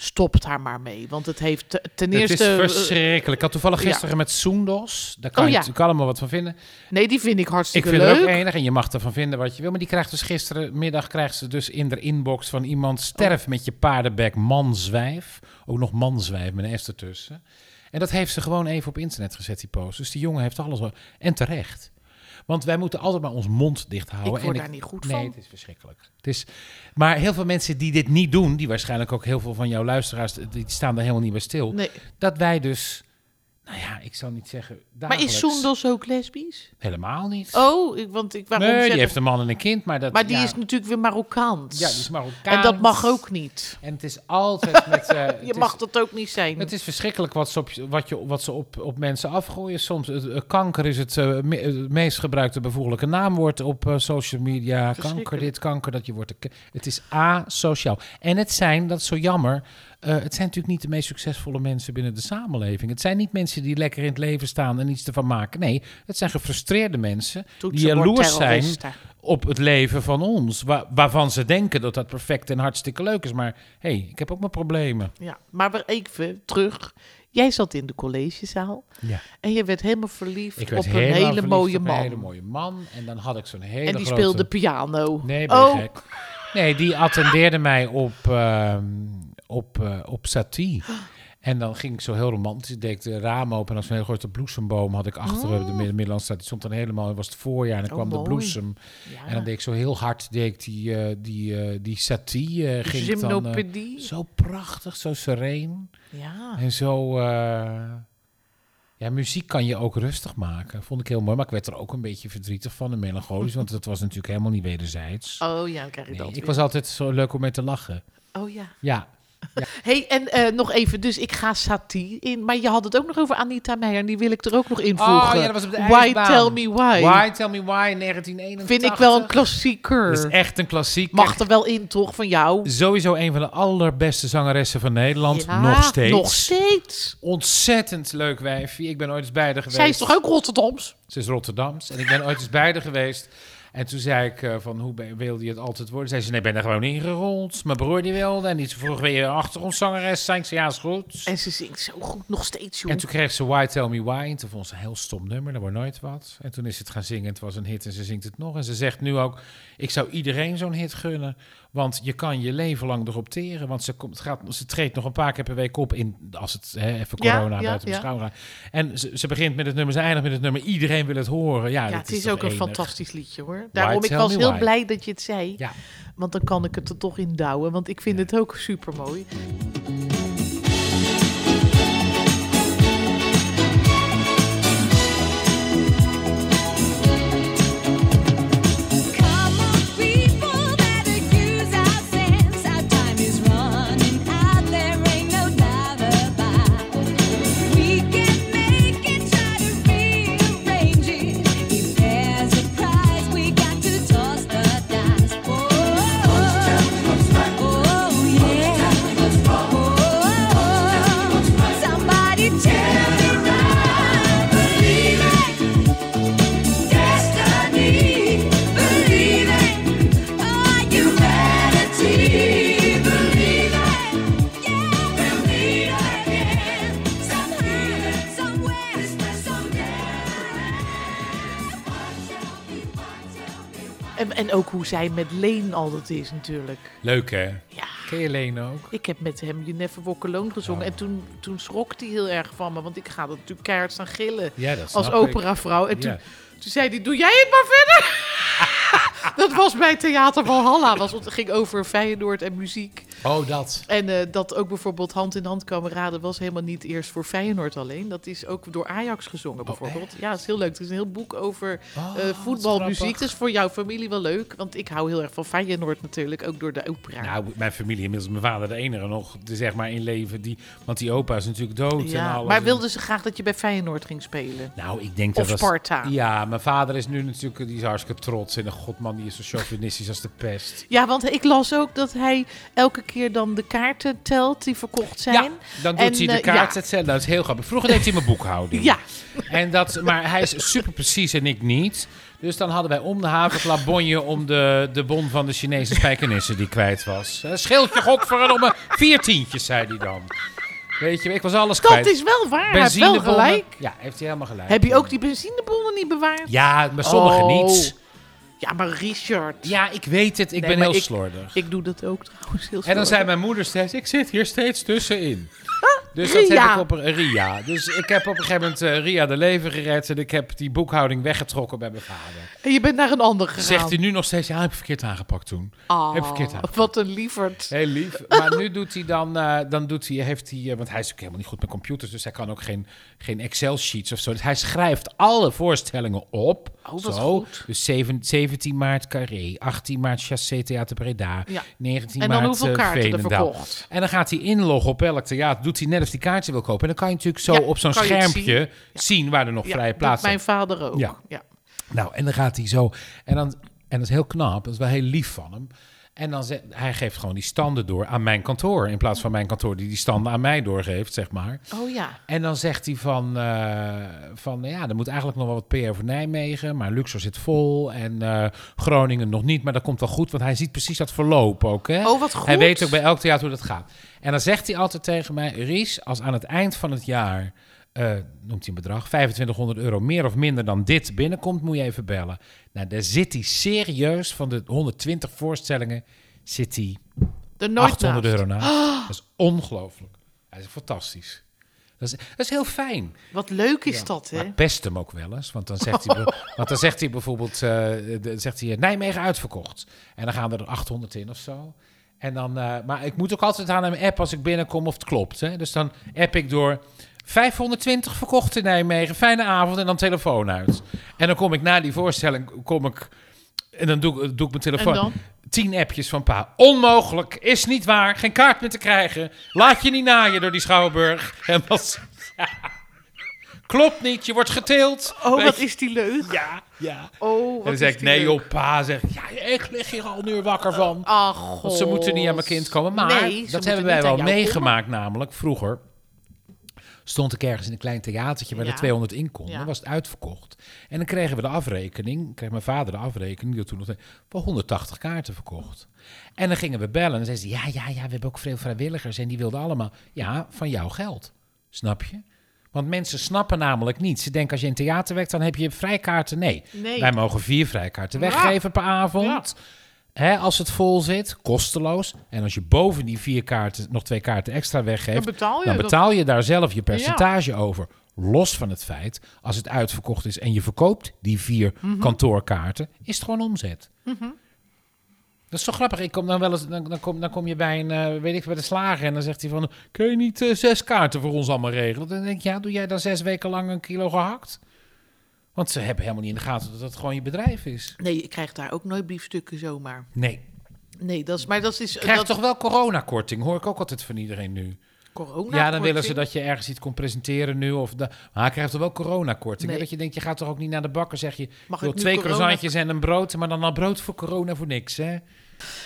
A: Stop daar maar mee, want het heeft te- ten
C: Het
A: eerste...
C: is
A: eh,
C: verschrikkelijk. Ik had toevallig
A: ja.
C: gisteren met Soendos. Daar kan
A: Oh
C: je
A: ja.
C: natuurlijk allemaal wat van vinden.
A: nee, die vind ik
C: Ik
A: hartstikke
C: vind
A: leuk.
C: het ook enig en je mag ervan vinden wat je wil. Maar die krijgt dus gisterenmiddag krijgt ze dus in de inbox van iemand... sterf met je paardenbek, manzwijf. Ook nog manzwijf met een S ertussen. En dat heeft ze gewoon even op internet gezet, die post. Dus die jongen heeft alles wel. En terecht. Want wij moeten altijd maar ons mond dicht houden.
A: Ik word
C: en
A: daar niet goed
C: nee,
A: van.
C: het is verschrikkelijk. Het is, maar heel veel mensen die dit niet doen... die waarschijnlijk ook heel veel van jouw luisteraars... die staan daar helemaal niet bij stil.
A: Nee.
C: Dat wij dus... Nou ja, ik zal niet zeggen
A: Maar
C: dagelijks.
A: is Soendos ook lesbisch?
C: Helemaal niet.
A: Oh, ik, want ik... Waarom
C: nee,
A: zeg
C: die
A: ik-
C: heeft een man en een kind, maar dat...
A: Maar die
C: ja,
A: is natuurlijk weer Marokkaans.
C: Ja, die is Marokkaans.
A: En dat mag ook niet.
C: En het is altijd met... eh,
A: Je
C: het
A: mag
C: is,
A: dat ook niet zijn.
C: Het is verschrikkelijk wat ze op, wat je, wat ze op, op mensen afgooien. Soms, het- eh, kanker is het, eh, me- het meest gebruikte bevoeglijke naamwoord op eh, social media. Kanker
A: Verschrikkelijk.
C: dit, kanker dat, je wordt... een ke- Het is asociaal. En het zijn, dat is zo jammer... eh, het zijn natuurlijk niet de meest succesvolle mensen binnen de samenleving. Het zijn niet mensen die lekker in het leven staan en iets ervan maken. Nee, het zijn gefrustreerde mensen die jaloers zijn op het leven van ons. Wa- waarvan ze denken dat dat perfect en hartstikke leuk is. Maar hé, hey, ik heb ook mijn problemen.
A: Ja, maar weer even terug. Jij zat in de collegezaal
C: Ja.
A: en je werd helemaal verliefd
C: Ik werd
A: op een
C: helemaal
A: hele
C: verliefd
A: mooie
C: op
A: man.
C: Een hele mooie man. En dan had ik zo'n hele
A: en die
C: grote-
A: speelde piano.
C: Nee, ben je
A: oh,
C: gek? Nee, die attendeerde mij op, ehm, op, eh, op Satie. En dan ging ik zo heel romantisch. Deed ik de ramen open en als een hele grote bloesemboom had ik achter de Mid- Middellandse Straat. Die stond dan helemaal, het was het voorjaar en dan
A: Oh,
C: kwam
A: mooi. Ah.
C: de bloesem.
A: ja.
C: En dan deed ik zo heel hard deed ik die, eh, die, eh, die Satie. eh, ging ik dan, eh,
A: gymnopedie.
C: zo prachtig, zo sereen.
A: ja.
C: En zo. eh, ja, muziek kan je ook rustig maken. Vond ik heel mooi. Maar ik werd er ook een beetje verdrietig van en melancholisch. Want dat was natuurlijk helemaal niet wederzijds.
A: Oh ja, dan krijg je
C: Nee,
A: dat
C: ik
A: weer.
C: was altijd zo leuk om mee te lachen.
A: Oh ja.
C: Ja.
A: hey, en eh, nog even. Dus ik ga Satie in. Maar je had het ook nog over Anita Meijer. En die wil ik er ook nog
C: Oh,
A: invoegen. Why Tell Me Why.
C: Why Tell Me Why 1981.
A: Vind ik wel een klassieker.
C: Dat is echt een klassiek.
A: Mag er wel in, toch, van jou?
C: Sowieso een van de allerbeste zangeressen van Nederland.
A: Ja,
C: nog steeds.
A: Nog steeds.
C: Ontzettend leuk wijfje. Ik ben ooit eens bij haar geweest.
A: Zij is toch ook Rotterdams?
C: Ze is Rotterdams. En ik ben ooit eens bij haar geweest. En toen zei ik eh, van, hoe ben- wilde je het altijd worden? Zei ze, nee, ik ben er gewoon ingerold. Mijn broer die wilde. En die vroeg, wil je een achtergrondzangeres zijn? Ik zei, ja, is goed. En,
A: En ze zingt zo goed, nog steeds, joh.
C: toen kreeg ze Why Tell Me Why. En toen vond ze een heel stom nummer. Dat wordt nooit wat. En toen is ze het gaan zingen. Het was een hit en ze zingt het nog. En ze zegt nu ook, ik zou iedereen zo'n hit gunnen. Want je kan je leven lang erop teren. Want ze, komt, gaat, ze treedt nog een paar keer per week op. In, als het hè, even
A: Ja,
C: corona
A: ja,
C: buiten
A: ja.
C: beschouwing gaat. En ze, ze begint met het nummer, ze eindigt met het nummer. Iedereen wil het horen. Ja,
A: ja,
C: dat
A: het is,
C: toch
A: ook een
C: enig.
A: fantastisch liedje, hoor. Daarom, ik
C: tell
A: was
C: me
A: heel
C: why.
A: blij dat je het zei.
C: Ja.
A: Want dan kan ik het er toch in douwen, want ik vind het ook supermooi.
F: Come on, people, better use our sense. Our time is running out. There ain't no love Oh, Oh,
E: Oh,
A: En, en ook hoe zij met Leen al dat is natuurlijk.
C: Leuk hè?
A: Ja.
C: Ken je Leen ook?
A: Ik heb met hem You Never Walk Alone gezongen. En toen, toen schrok hij heel erg van me. Want ik ga dat natuurlijk keihard staan gillen.
C: Ja, dat snap
A: als
C: ik.
A: operavrouw. En toen,
C: Ja.
A: toen zei hij, doe jij het maar verder. dat was bij Theater Valhalla. Was, want het ging over Feyenoord en muziek.
C: Oh, dat.
A: En eh, dat ook bijvoorbeeld hand in hand kameraden was helemaal niet eerst voor Feyenoord alleen. Dat is ook door Ajax gezongen bijvoorbeeld. ja, dat is heel leuk. Er is een heel boek over
C: Oh,
A: eh
C: wat
A: voetbalmuziek.
C: grappig.
A: Dat is voor jouw familie wel leuk. Want ik hou heel erg van Feyenoord natuurlijk. Ook door de opera.
C: Nou, mijn familie, inmiddels mijn vader de enige nog, de- zeg maar, in leven. Die, want die opa is natuurlijk dood en
A: Ja,
C: alles.
A: maar wilden ze graag dat je bij Feyenoord ging spelen?
C: Nou, ik denk
A: Of
C: dat... dat-
A: Sparta.
C: ja, mijn vader is nu natuurlijk, die is hartstikke trots. En een godman, die is zo chauvinistisch als de pest.
A: Ja, want ik las ook dat hij elke keer dan de kaarten telt die verkocht zijn.
C: Ja, dan doet
A: En,
C: hij
A: eh,
C: de
A: ja.
C: kaart hetzelfde. Dat is heel grappig. Vroeger deed hij mijn boekhouding.
A: Ja.
C: En dat, maar hij is super precies en ik niet. Dus dan hadden wij om de haven Labonje om de, de bon van de Chinese spijkenissen die kwijt was. Eh, Scheelt je godverdomme vier tientjes, zei hij dan. Weet je, ik was alles
A: Dat
C: kwijt.
A: is wel waar. Hij heeft wel
C: Benzinebonnen.
A: gelijk.
C: Ja, heeft hij helemaal gelijk.
A: Heb je ook die benzinebonnen niet bewaard?
C: Ja, maar sommigen
A: Oh.
C: niet.
A: Ja, maar Richard.
C: Ja, ik weet het. Ik
A: Nee,
C: ben
A: maar
C: heel
A: ik-
C: slordig.
A: Ik doe dat ook trouwens heel
C: En dan
A: slordig.
C: zei mijn moeder steeds, ik zit hier steeds tussenin. Dus dat heb
A: Ria.
C: ik op een- Ria. Dus ik heb op een gegeven moment eh, Ria de leven gered en ik heb die boekhouding weggetrokken bij mijn vader.
A: En je bent naar een ander gegaan.
C: Zegt hij nu nog steeds, ja, heb ik verkeerd aangepakt toen.
A: Ah,
C: heb ik verkeerd aangepakt.
A: Wat een lieverd.
C: Heel lief. Maar nu doet hij dan, eh, dan doet hij, heeft hij, eh, want hij is ook helemaal niet goed met computers, dus hij kan ook geen, geen Excel-sheets of zo. Dus hij schrijft alle voorstellingen op.
A: Oh, wat
C: zo.
A: goed.
C: Dus zeven- 17 maart Carré, 18 maart Chassé Theater Breda,
A: Ja.
C: 19
A: En dan
C: maart
A: hoeveel
C: eh,
A: kaarten er
C: Veenendaal.
A: verkocht?
C: En dan gaat hij inloggen op elk theater, doet hij net of hij kaartje wil kopen. En dan kan je natuurlijk zo
A: Ja,
C: op zo'n
A: kan je het
C: schermpje zien.
A: zien.
C: waar er nog
A: Ja,
C: vrije
A: doet
C: plaats zijn.
A: mijn vader ook.
C: Ja.
A: Ja.
C: Nou, en dan gaat hij zo. En, dan, en dat is heel knap, dat is wel heel lief van hem. En dan zegt hij geeft gewoon die standen door aan mijn kantoor. In plaats van mijn kantoor die die standen aan mij doorgeeft, zeg maar.
A: Oh ja.
C: En dan zegt hij van, eh, van ja, er moet eigenlijk nog wel wat PR voor Nijmegen. Maar Luxor zit vol en eh, Groningen nog niet. Maar dat komt wel goed, want hij ziet precies dat verloop ook. Hè?
A: Oh, wat
C: Hij
A: goed.
C: weet ook bij elk theater hoe dat gaat. En dan zegt hij altijd tegen mij, Ries, als aan het eind van het jaar, eh, noemt hij een bedrag, 2500 euro meer of minder dan dit binnenkomt, moet je even bellen. Nou, daar zit hij serieus van de 120 voorstellingen, zit hij
A: Er nooit
C: 800
A: naast.
C: euro naast. Dat is ongelooflijk. Hij is fantastisch. Dat is, dat is heel fijn.
A: Wat leuk is dat, hè?
C: Maar pest hem ook wel eens. Want dan zegt hij, be- want dan zegt hij bijvoorbeeld... eh, de- zegt hij, Nijmegen uitverkocht. En dan gaan er 800 in of zo. En dan, eh, maar ik moet ook altijd aan hem appen als ik binnenkom of het klopt. Hè? Dus dan app ik door... 520 verkocht in Nijmegen. Fijne avond en dan telefoon uit. En dan kom ik na die voorstelling... Kom ik, en dan doe, ik- doe ik mijn telefoon...
A: En dan?
C: Tien appjes van pa. Onmogelijk, is niet waar, geen kaart meer te krijgen. Laat je niet naaien door die Schouwburg. En was, Klopt niet, je wordt geteeld.
A: Oh,
C: Weet
A: wat
C: je-
A: is die leuk.
C: Ja, ja.
A: Oh, wat
C: en dan
A: is
C: zeg ik,
A: die
C: nee
A: leuk.
C: joh, pa. Zeg ik, ja, ik lig hier al een uur wakker van.
A: Ach, god.
C: Want ze moeten niet aan mijn kind komen. Maar
A: Ah, Nee, ze
C: dat
A: moeten
C: hebben wij
A: niet
C: wel
A: aan jou
C: meegemaakt namelijk. Vroeger stond ik ergens in een klein theatertje waar
A: Ja.
C: er 200 in konden.
A: Ja.
C: was het uitverkocht. En dan kregen we de afrekening, kreeg mijn vader de afrekening, die had toen nog voor 180 kaarten verkocht. En dan gingen we bellen en dan zei ze, ja, ja, ja, we hebben ook veel vrijwilligers en die wilden allemaal, ja, van jouw geld. Snap je? Want mensen snappen namelijk niet. Ze denken als je in theater werkt, dan heb je vrijkaarten. Nee,
A: Nee.
C: wij mogen vier vrijkaarten weggeven per avond. Hè, als het vol zit, kosteloos. En als je boven die vier kaarten nog twee kaarten extra weggeeft,
A: Dan betaal je dat.
C: betaal je daar zelf je percentage over. Los van het feit, als het uitverkocht is en je verkoopt die vier
A: Mhm.
C: kantoorkaarten, is het gewoon omzet. Dat is zo grappig. Ik kom dan wel eens, dan, dan, kom, dan kom je bij een, eh, weet ik, bij de slager en dan zegt hij van, kun je niet eh, zes kaarten voor ons allemaal regelen? Dan denk ik, ja, doe jij dan zes weken lang een kilo gehakt? Want ze hebben helemaal niet in de gaten dat dat gewoon je bedrijf is.
A: Nee, je krijgt daar ook nooit biefstukken zomaar.
C: Nee.
A: Nee, dat is, maar dat is...
C: Eh, Krijg
A: dat
C: toch wel coronakorting, hoor ik ook altijd van iedereen nu.
A: corona
C: Ja, dan willen ze dat je ergens iets komt presenteren nu. Of da- maar hij krijgt toch wel coronakorting. hè?
A: Nee.
C: Dat je denkt, je gaat toch ook niet naar de bakker, zeg je. ik
A: Mag
C: wil
A: ik nu
C: twee
A: corona-
C: croissantjes en een brood, maar dan al brood voor corona voor niks, hè?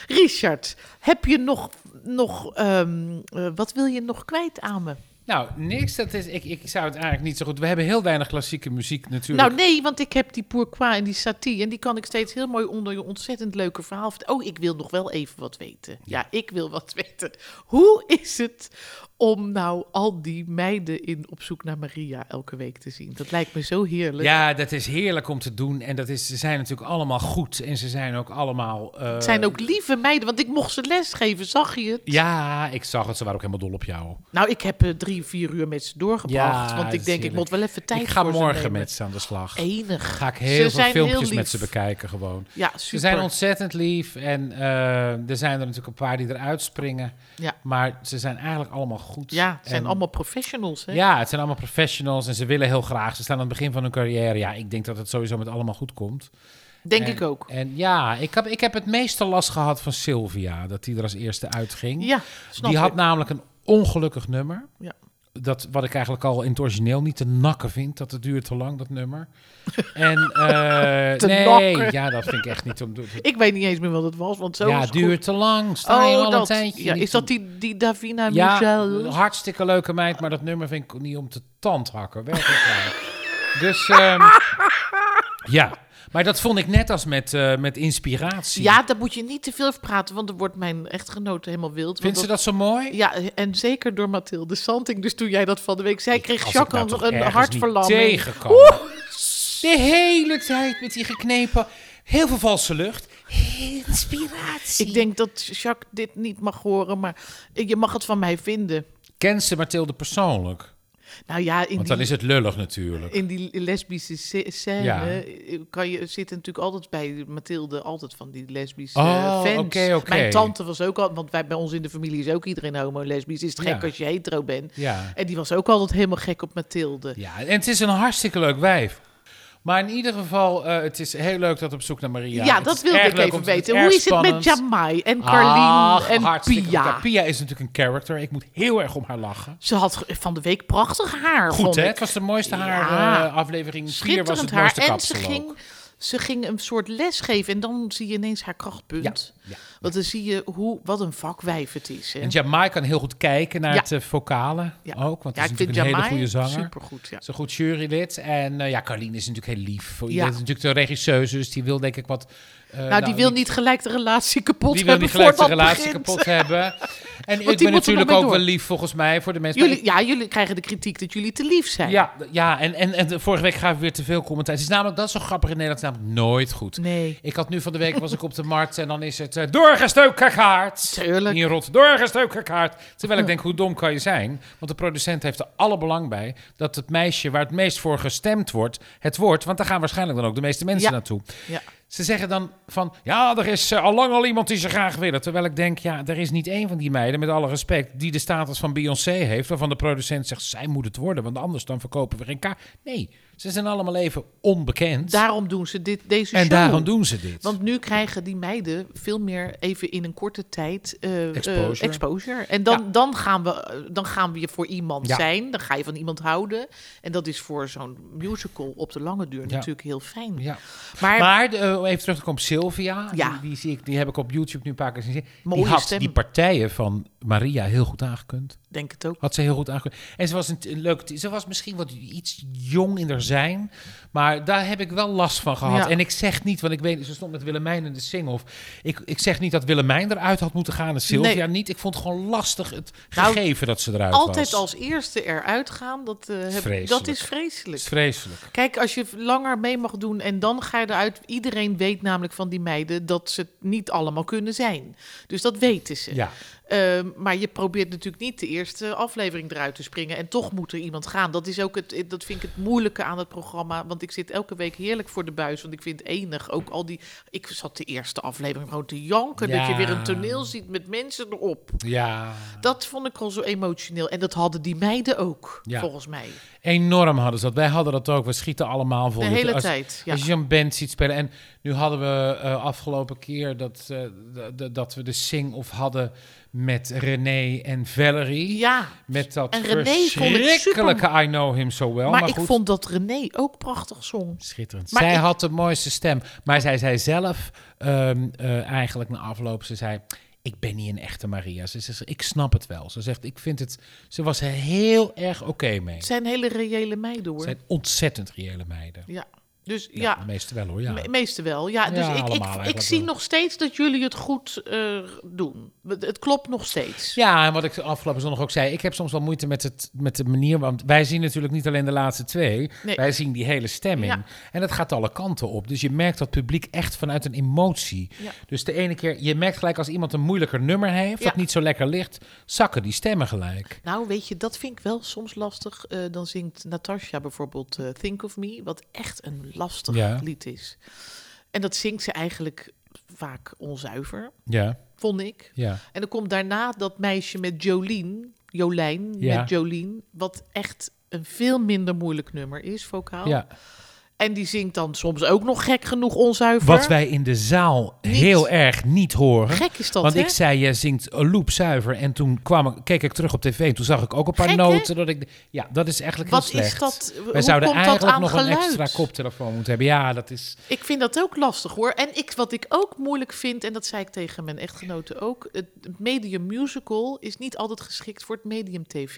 A: Richard, heb je nog... nog ehm, eh, wat wil je nog kwijt aan me?
C: Nou, niks. Dat is, ik, ik zou het eigenlijk niet zo goed... We hebben heel weinig klassieke muziek natuurlijk.
A: Nou nee, want ik heb die Pourquoi en die Satie. En die kan ik steeds heel mooi onder je ontzettend leuke verhaal vertellen. Oh, ik wil nog wel even wat weten. Ja, ik wil wat weten. Hoe is het om nou al die meiden in Op zoek naar Maria elke week te zien? Dat lijkt me zo heerlijk.
C: Ja, dat is heerlijk om te doen. En dat is, ze zijn natuurlijk allemaal goed. En ze zijn ook allemaal... eh,
A: Het zijn ook lieve meiden, want ik mocht ze lesgeven, zag je het?
C: Ja, ik zag het. Ze waren ook helemaal dol op jou.
A: Nou, ik heb eh, drie, vier uur met ze doorgebracht.
C: Ja,
A: want
C: dat
A: ik
C: is
A: denk, ik
C: heerlijk.
A: moet wel even tijd
C: ik ga
A: voor ze
C: morgen
A: nemen.
C: met ze aan de slag.
A: Enig.
C: Ga ik
A: Ze
C: heel veel
A: zijn heel
C: filmpjes met
A: lief.
C: ze bekijken gewoon.
A: Ja, super.
C: Ze zijn ontzettend lief. En eh, er zijn er natuurlijk een paar die eruit springen.
A: Ja.
C: Maar ze zijn eigenlijk allemaal goed.
A: Ja, het zijn
C: En-
A: allemaal professionals, hè?
C: Ja, het zijn allemaal professionals en ze willen heel graag. Ze staan aan het begin van hun carrière. Ja, ik denk dat het sowieso met allemaal goed komt.
A: Denk
C: En-
A: ik ook.
C: En ja, ik heb, ik heb het meeste last gehad van Sylvia, dat die er als eerste uitging.
A: Ja, snap
C: Hm? die had nou-
A: ik.
C: namelijk een ongelukkig nummer.
A: Ja.
C: Dat, wat ik eigenlijk al in het origineel niet te nakken vind. Dat het duurt te lang, dat nummer. En, eh,
A: Te
C: nee,
A: nakken.
C: ja, dat vind ik echt niet om te
A: Ik weet niet eens meer wat het was, want zo
C: Ja,
A: is
C: het
A: het
C: duurt te lang.
A: goed. Oh,
C: Sta je al een
A: dat.
C: tijdje.
A: Ja,
C: niet
A: is
C: te-
A: dat die, die Davina
C: ja,
A: Michel?
C: hartstikke leuke meid, maar dat nummer vind ik niet om te tandhakken. Werkelijk waar. Dus ehm, ja, maar dat vond ik net als met, eh, met inspiratie.
A: Ja, daar moet je niet te veel over praten, want dan wordt mijn echtgenote helemaal wild.
C: Vindt ze
A: want
C: dat zo mooi?
A: Ja, en zeker door Mathilde Santing. Dus toen jij dat van de week zei, kreeg
C: Als
A: Jacques
C: ik nou
A: al
C: toch
A: een
C: ergens
A: hartverlamming.
C: niet tegenkomen. De hele tijd met die geknepen, heel veel valse lucht. Inspiratie.
A: Ik denk dat Jacques dit niet mag horen, maar je mag het van mij vinden.
C: Ken ze Mathilde persoonlijk?
A: Nou ja, in
C: Want dan
A: die-
C: is het lullig natuurlijk.
A: in die lesbische sce- scène
C: Ja.
A: eh, kan je, zit natuurlijk altijd bij Mathilde altijd van die lesbische
C: Oh,
A: eh, fans.
C: oké, oké.
A: Mijn tante was ook al, want wij, bij ons in de familie is ook iedereen homo-lesbisch. Is het
C: Ja.
A: gek als je hetero bent?
C: Ja.
A: En die was ook altijd helemaal gek op Mathilde.
C: Ja, en het is een hartstikke leuk wijf. Maar in ieder geval, eh, het is heel leuk dat op zoek naar Maria.
A: Ja,
C: Het
A: dat
C: is
A: wilde
C: erg
A: ik
C: leuk
A: even
C: om te doen.
A: weten.
C: erg
A: Hoe is
C: spannend.
A: het met Jamai en Carlien
C: Ach,
A: en
C: hartstikke
A: Pia?
C: leuk. Pia is natuurlijk een character. Ik moet heel erg om haar lachen.
A: Ze had ge- van de week prachtig haar.
C: Goed,
A: vond
C: hè?
A: ik.
C: Het was de mooiste haar
A: Ja.
C: eh, aflevering. Vier
A: Schitterend
C: was het
A: haar.
C: mooiste
A: En ze
C: kapsel
A: ging,
C: ook.
A: ze ging een soort les geven. En dan zie je ineens haar krachtpunt.
C: Ja, ja.
A: Want dan zie je hoe, wat een vakwijf het is. Hè?
C: En Jamai kan heel goed kijken naar
A: Ja.
C: het eh, vocale ook. Want
A: ja,
C: het is
A: ik vind
C: natuurlijk een hele
A: Jamai
C: goede zanger.
A: Supergoed, ja.
C: Ze een goed jurylid. En eh, ja, Carlien is natuurlijk heel lief. voor
A: Ja.
C: Dat is natuurlijk de regisseuse, dus die wil denk ik wat... eh,
A: nou, die wil niet gelijk de relatie kapot
C: Die wil
A: hebben
C: niet gelijk de
A: voordat het
C: relatie
A: begint.
C: kapot hebben.
A: die
C: En ik
A: moeten
C: ben
A: nog
C: natuurlijk
A: maar
C: ook
A: door.
C: wel lief volgens mij voor de mensen.
A: Jullie, ja, jullie krijgen de kritiek dat jullie te lief zijn.
C: ja, ja en, en, en vorige week gaven we weer te veel commentaar. Het is namelijk, dat is zo grappig in Nederland, het is namelijk nooit goed.
A: Nee.
C: Ik had nu van de week, was ik op de markt en dan is het eh, doorgestoken kaart.
A: Tuurlijk.
C: Hier rot, doorgestoken kaart. Terwijl ik denk, hoe dom kan je zijn? Want de producent heeft er alle belang bij dat het meisje waar het meest voor gestemd wordt, het wordt. Want daar gaan waarschijnlijk dan ook de meeste mensen
A: Ja.
C: naartoe.
A: Ja.
C: Ze zeggen dan van, ja, er is eh, al allang al iemand die ze graag willen. Terwijl ik denk, ja, er is niet één van die meiden, met alle respect, die de status van Beyoncé heeft, waarvan de producent zegt, zij moet het worden, want anders dan verkopen we geen kaart. Nee, ze zijn allemaal even onbekend.
A: Daarom doen ze dit, deze
C: en
A: show.
C: daarom doen ze dit.
A: Want nu krijgen die meiden veel meer even in een korte tijd eh, eh,
C: Exposure.
A: exposure. En dan,
C: Ja.
A: dan, gaan we, eh, dan gaan we je voor iemand
C: Ja.
A: zijn. Dan ga je van iemand houden. En dat is voor zo'n musical op de lange duur natuurlijk heel fijn.
C: ja.
A: Maar,
C: Maar de- eh, even terug te komen op Sylvia.
A: Ja.
C: Die, die, zie ik, die heb ik op YouTube nu een paar keer gezien.
A: Mooie
C: die had
A: stem.
C: die partijen van Maria heel goed aangekund.
A: denk het ook.
C: Had ze heel goed aangekund. En ze was een, een leuk. Ze was misschien wat iets jong in haar zijn. Maar daar heb ik wel last van gehad.
A: Ja.
C: En ik zeg niet, want ik weet, ze stond met Willemijn in de singhof. Ik, ik zeg niet dat Willemijn eruit had moeten gaan en Sylvia
A: Nee.
C: niet. Ik vond het gewoon lastig het
A: Nou,
C: gegeven dat ze eruit was.
A: Altijd als eerste eruit gaan, dat, eh, heb- dat
C: Vreselijk.
A: is
C: Het
A: vreselijk.
C: is vreselijk.
A: Kijk, als je langer mee mag doen en dan ga je eruit. Iedereen weet namelijk van die meiden dat ze het niet allemaal kunnen zijn. Dus dat weten ze.
C: Ja.
A: Ehm, maar je probeert natuurlijk niet de eerste aflevering eruit te springen. En toch moet er iemand gaan. Dat, is ook het, dat vind ik het moeilijke aan het programma. Want ik zit elke week heerlijk voor de buis. Want ik vind enig ook al die. Ik zat de eerste aflevering gewoon te janken. Dat je
C: Ja.
A: weer een toneel ziet met mensen erop.
C: Ja.
A: Dat vond ik al zo emotioneel. En dat hadden die meiden ook,
C: Ja.
A: volgens mij.
C: Enorm hadden ze dat. Wij hadden dat ook. We schieten allemaal vol.
A: De
C: dit.
A: hele
C: als,
A: tijd, ja.
C: Als je zo'n band ziet spelen. En nu hadden we eh, afgelopen keer dat, eh, d- d- dat we de sing-off hadden met René en Valerie.
A: Ja.
C: Met dat
A: En René vond ik
C: verschrikkelijke I Know Him So Well.
A: maar,
C: Maar,
A: ik
C: goed,
A: vond dat René ook prachtig zong.
C: Schitterend.
A: maar
C: zij
A: ik-
C: had de mooiste stem. Maar zij zei zelf ehm, eh, eigenlijk na afloop, ze zei... ik ben niet een echte Maria. Ze zegt, ik snap het wel. Ze zegt, ik vind het... Ze was er heel erg oké mee.
A: Het zijn hele reële meiden hoor.
C: Het zijn ontzettend reële meiden.
A: Ja. Dus ja,
C: de meeste wel hoor, ja.
A: me- meeste wel. Ja, dus
C: Ja,
A: ik,
C: allemaal
A: ik, ik
C: eigenlijk
A: zie
C: wel.
A: nog steeds dat jullie het goed eh, doen. Het het klopt nog steeds.
C: Ja, en wat ik afgelopen zondag ook zei, ik heb soms wel moeite met, het, met de manier, want wij zien natuurlijk niet alleen de laatste twee,
A: Nee.
C: wij zien die hele stemming.
A: Ja.
C: En dat gaat alle kanten op. Dus je merkt dat publiek echt vanuit een emotie.
A: Ja.
C: Dus de ene keer, je merkt gelijk als iemand een moeilijker nummer heeft,
A: Ja.
C: dat niet zo lekker ligt, zakken die stemmen gelijk.
A: Nou, weet je, dat vind ik wel soms lastig. Eh, dan zingt Natasha bijvoorbeeld eh, Think of Me, wat echt een lastig
C: Ja.
A: lied is. En dat zingt ze eigenlijk vaak onzuiver,
C: Ja,
A: vond ik.
C: ja.
A: En dan komt daarna dat meisje met Jolien, Jolijn,
C: Ja.
A: met Jolien, wat echt een veel minder moeilijk nummer is, vocaal.
C: ja.
A: En die zingt dan soms ook nog gek genoeg onzuiver.
C: Wat wij in de zaal heel erg niet horen.
A: Gek is dat,
C: Want
A: hè?
C: ik zei, je zingt een loop zuiver. En toen kwam ik, keek ik terug op tv en toen zag ik ook een paar
A: Gek, hè?
C: noten. Dat ik, ja, dat is eigenlijk
A: Wat
C: heel
A: is
C: slecht.
A: dat? Hoe
C: Wij zouden
A: komt dat
C: eigenlijk
A: aan
C: nog een
A: geluid?
C: extra koptelefoon moeten hebben. Ja, dat is...
A: Ik vind dat ook lastig hoor. En ik, wat ik ook moeilijk vind, en dat zei ik tegen mijn echtgenote ook, het medium musical is niet altijd geschikt voor het medium tv.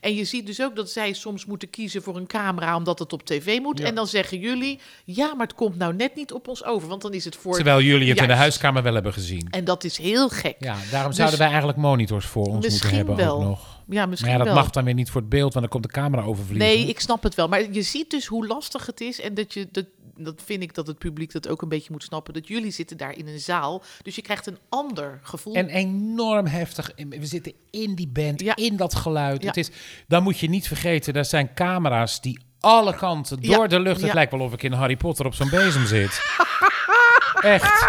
A: En je ziet dus ook dat zij soms moeten kiezen voor een camera omdat het op tv moet. En dan zeggen jullie, ja, maar het komt nou net niet op ons over, want dan is het voor.
C: Terwijl jullie het in de
A: Juist.
C: huiskamer wel hebben gezien.
A: En dat is heel gek.
C: Ja, daarom zouden wij eigenlijk monitors voor ons moeten
A: Dus Misschien
C: hebben
A: wel.
C: ook nog.
A: Ja,
C: Maar
A: misschien
C: ja, dat
A: wel.
C: mag dan weer niet voor het beeld, want dan komt de camera overvliegen.
A: Nee, ik snap het wel. Maar je ziet dus hoe lastig het is. En dat, je, dat, dat vind ik dat het publiek dat ook een beetje moet snappen. Dat jullie zitten daar in een zaal. Dus je krijgt een ander gevoel.
C: En enorm heftig. We zitten in die band,
A: Ja.
C: in dat geluid.
A: Ja.
C: Het is, dan moet je niet vergeten, daar zijn camera's die alle kanten
A: Ja.
C: door de lucht. Het
A: Ja.
C: lijkt wel of ik in Harry Potter op zo'n bezem zit. Echt.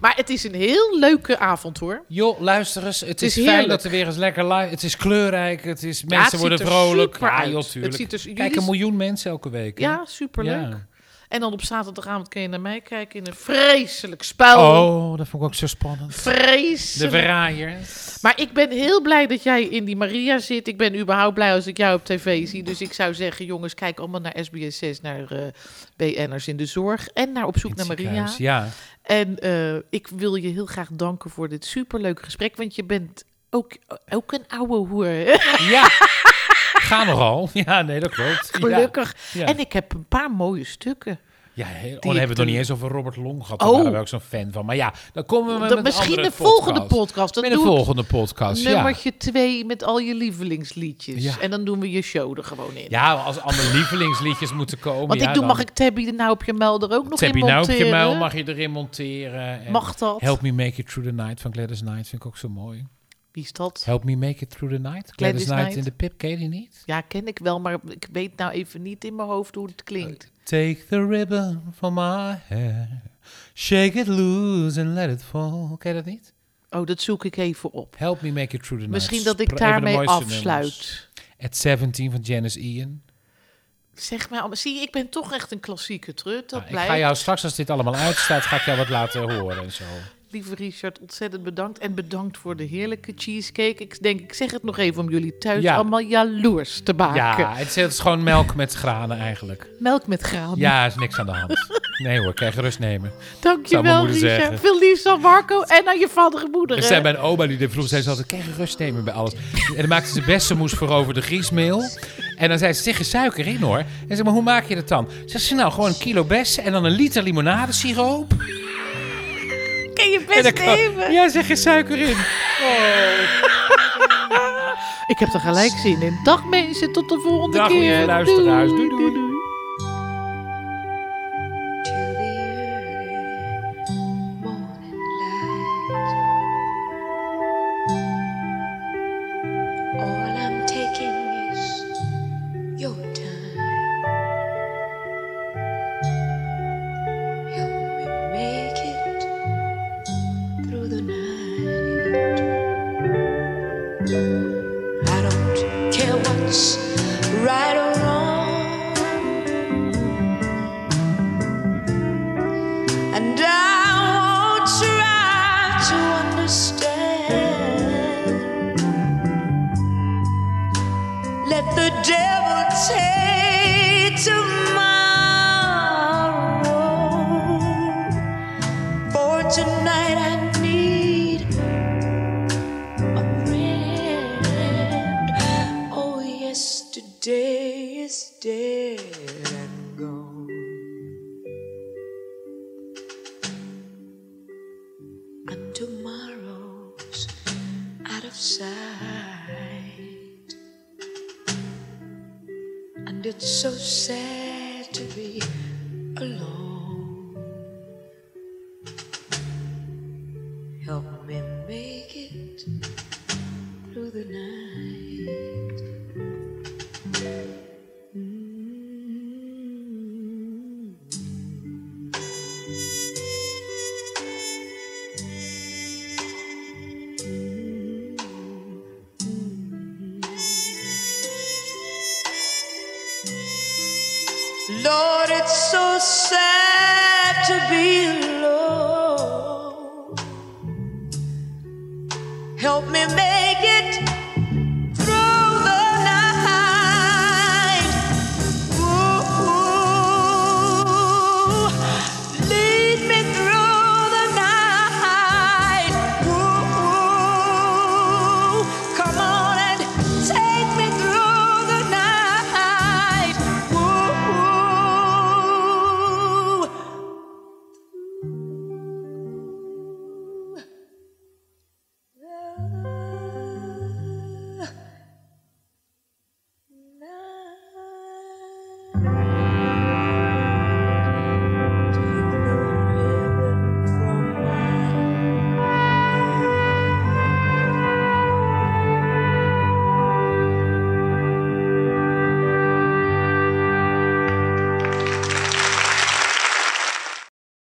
A: Maar het is een heel leuke avond hoor.
C: Joh, luister eens. Het is,
A: is
C: fijn
A: heerlijk.
C: dat er weer eens lekker live... Het is kleurrijk. Het is, mensen
A: het ziet
C: worden
A: er
C: vrolijk.
A: super
C: Ja,
A: uit.
C: joh,
A: Het
C: tuurlijk.
A: ziet er-
C: Kijk, een
A: jullie-
C: miljoen mensen elke week. hè?
A: Ja, superleuk.
C: Ja.
A: En dan op zaterdagavond kun je naar mij kijken in een vreselijk spel.
C: Oh, dat vond ik ook zo spannend. De
A: Vreselijk.
C: verraaier.
A: Maar ik ben heel blij dat jij in die Maria zit. Ik ben überhaupt blij als ik jou op tv zie. Dus ik zou zeggen, jongens, kijk allemaal naar SBS6, naar eh BN'ers in de zorg. En naar Op zoek naar Maria.
C: Ziekenhuis, Ja.
A: En eh, ik wil je heel graag danken voor dit superleuke gesprek. Want je bent ook, ook een oude hoer. hè?
C: Ja. Ga nogal. Ja, nee, dat klopt. Ja.
A: Gelukkig.
C: Ja.
A: En ik heb een paar mooie stukken.
C: Ja, heel, oh,
A: Die
C: dan hebben
A: ik
C: we het nog
A: toen-
C: niet eens over Robert Long gehad.
A: Oh.
C: Daar waren we ook zo'n fan van. Maar ja, dan komen we met
A: Dat
C: een
A: misschien
C: andere
A: de volgende podcast. Dan
C: Met de
A: doe ik
C: volgende podcast, ja.
A: nummertje twee met al je lievelingsliedjes.
C: Ja.
A: En dan doen we je show er gewoon in.
C: Ja, als allemaal lievelingsliedjes moeten komen.
A: Want
C: ja,
A: ik doe,
C: dan
A: mag ik Tabby de Nou op je muil er ook nog
C: Tabby
A: in
C: Nou
A: monteren?
C: op je muil mag je erin monteren. En
A: Mag dat?
C: Help Me Make It Through The Night van Gladys Knight vind ik ook zo mooi.
A: Wie is dat?
C: Help Me Make It Through The Night. Gladys,
A: Gladys
C: Knight,
A: Knight.
C: in de Pip, ken je die niet?
A: Ja, ken ik wel, maar ik weet nou even niet in mijn hoofd hoe het klinkt.
C: Take the ribbon from my hair. Shake it loose and let it fall. Ken je dat niet?
A: Oh, dat zoek ik even op.
C: Help Me Make It Through The Night.
A: Misschien dat
C: Spra-
A: ik
C: een van de
A: daarmee
C: mooiste nummers.
A: afsluit.
C: At 17 van Janice Ian.
A: Zeg maar, allemaal- zie je, ik ben toch echt een klassieke trut. Dat
C: Nou, ik
A: blijft.
C: ga jou straks, als dit allemaal uitstaat, ga ik jou wat laten horen en zo.
A: Lieve Richard, ontzettend bedankt. En bedankt voor de heerlijke cheesecake. Ik denk, ik zeg het nog even om jullie thuis
C: Ja.
A: allemaal jaloers te maken.
C: Ja, het is, het is gewoon melk met granen eigenlijk.
A: Melk met graan.
C: Ja, is niks aan de hand. Nee hoor, kan je gerust nemen. Zou mijn
A: Dankjewel,
C: moeder
A: Richard.
C: zeggen.
A: Veel liefst aan Marco en aan je vader en moeder.
C: Er
A: hè?
C: zei mijn oma, die vroeg, zei ze altijd, kan je gerust nemen bij alles. En dan maakte ze best, ze moest voor over de griesmeel. En dan zei ze, zeg er suiker in hoor. En zeg maar, hoe maak je dat dan? Zegt ze, nou, gewoon een kilo bessen en dan een liter limonadesiroop.
A: Ken je
C: En
A: best
C: dan kan-
A: even.
C: Ja, zeg er suiker in.
A: Ik heb er gelijk zin in. Dag mensen, tot de volgende
C: Dag,
A: keer.
C: lieve luisteraars. Doei, doei.
E: to the early morning light. All I'm taking is your time. Help me make it through the night. I don't care what's right or wrong. And I won't try to understand. Let the devil take tomorrow. For tonight I need
H: yesterday is dead and gone. And tomorrow's out of sight. And it's so sad to be alone. Help me make it through the night. Mm. Lord, it's so sad to be alone.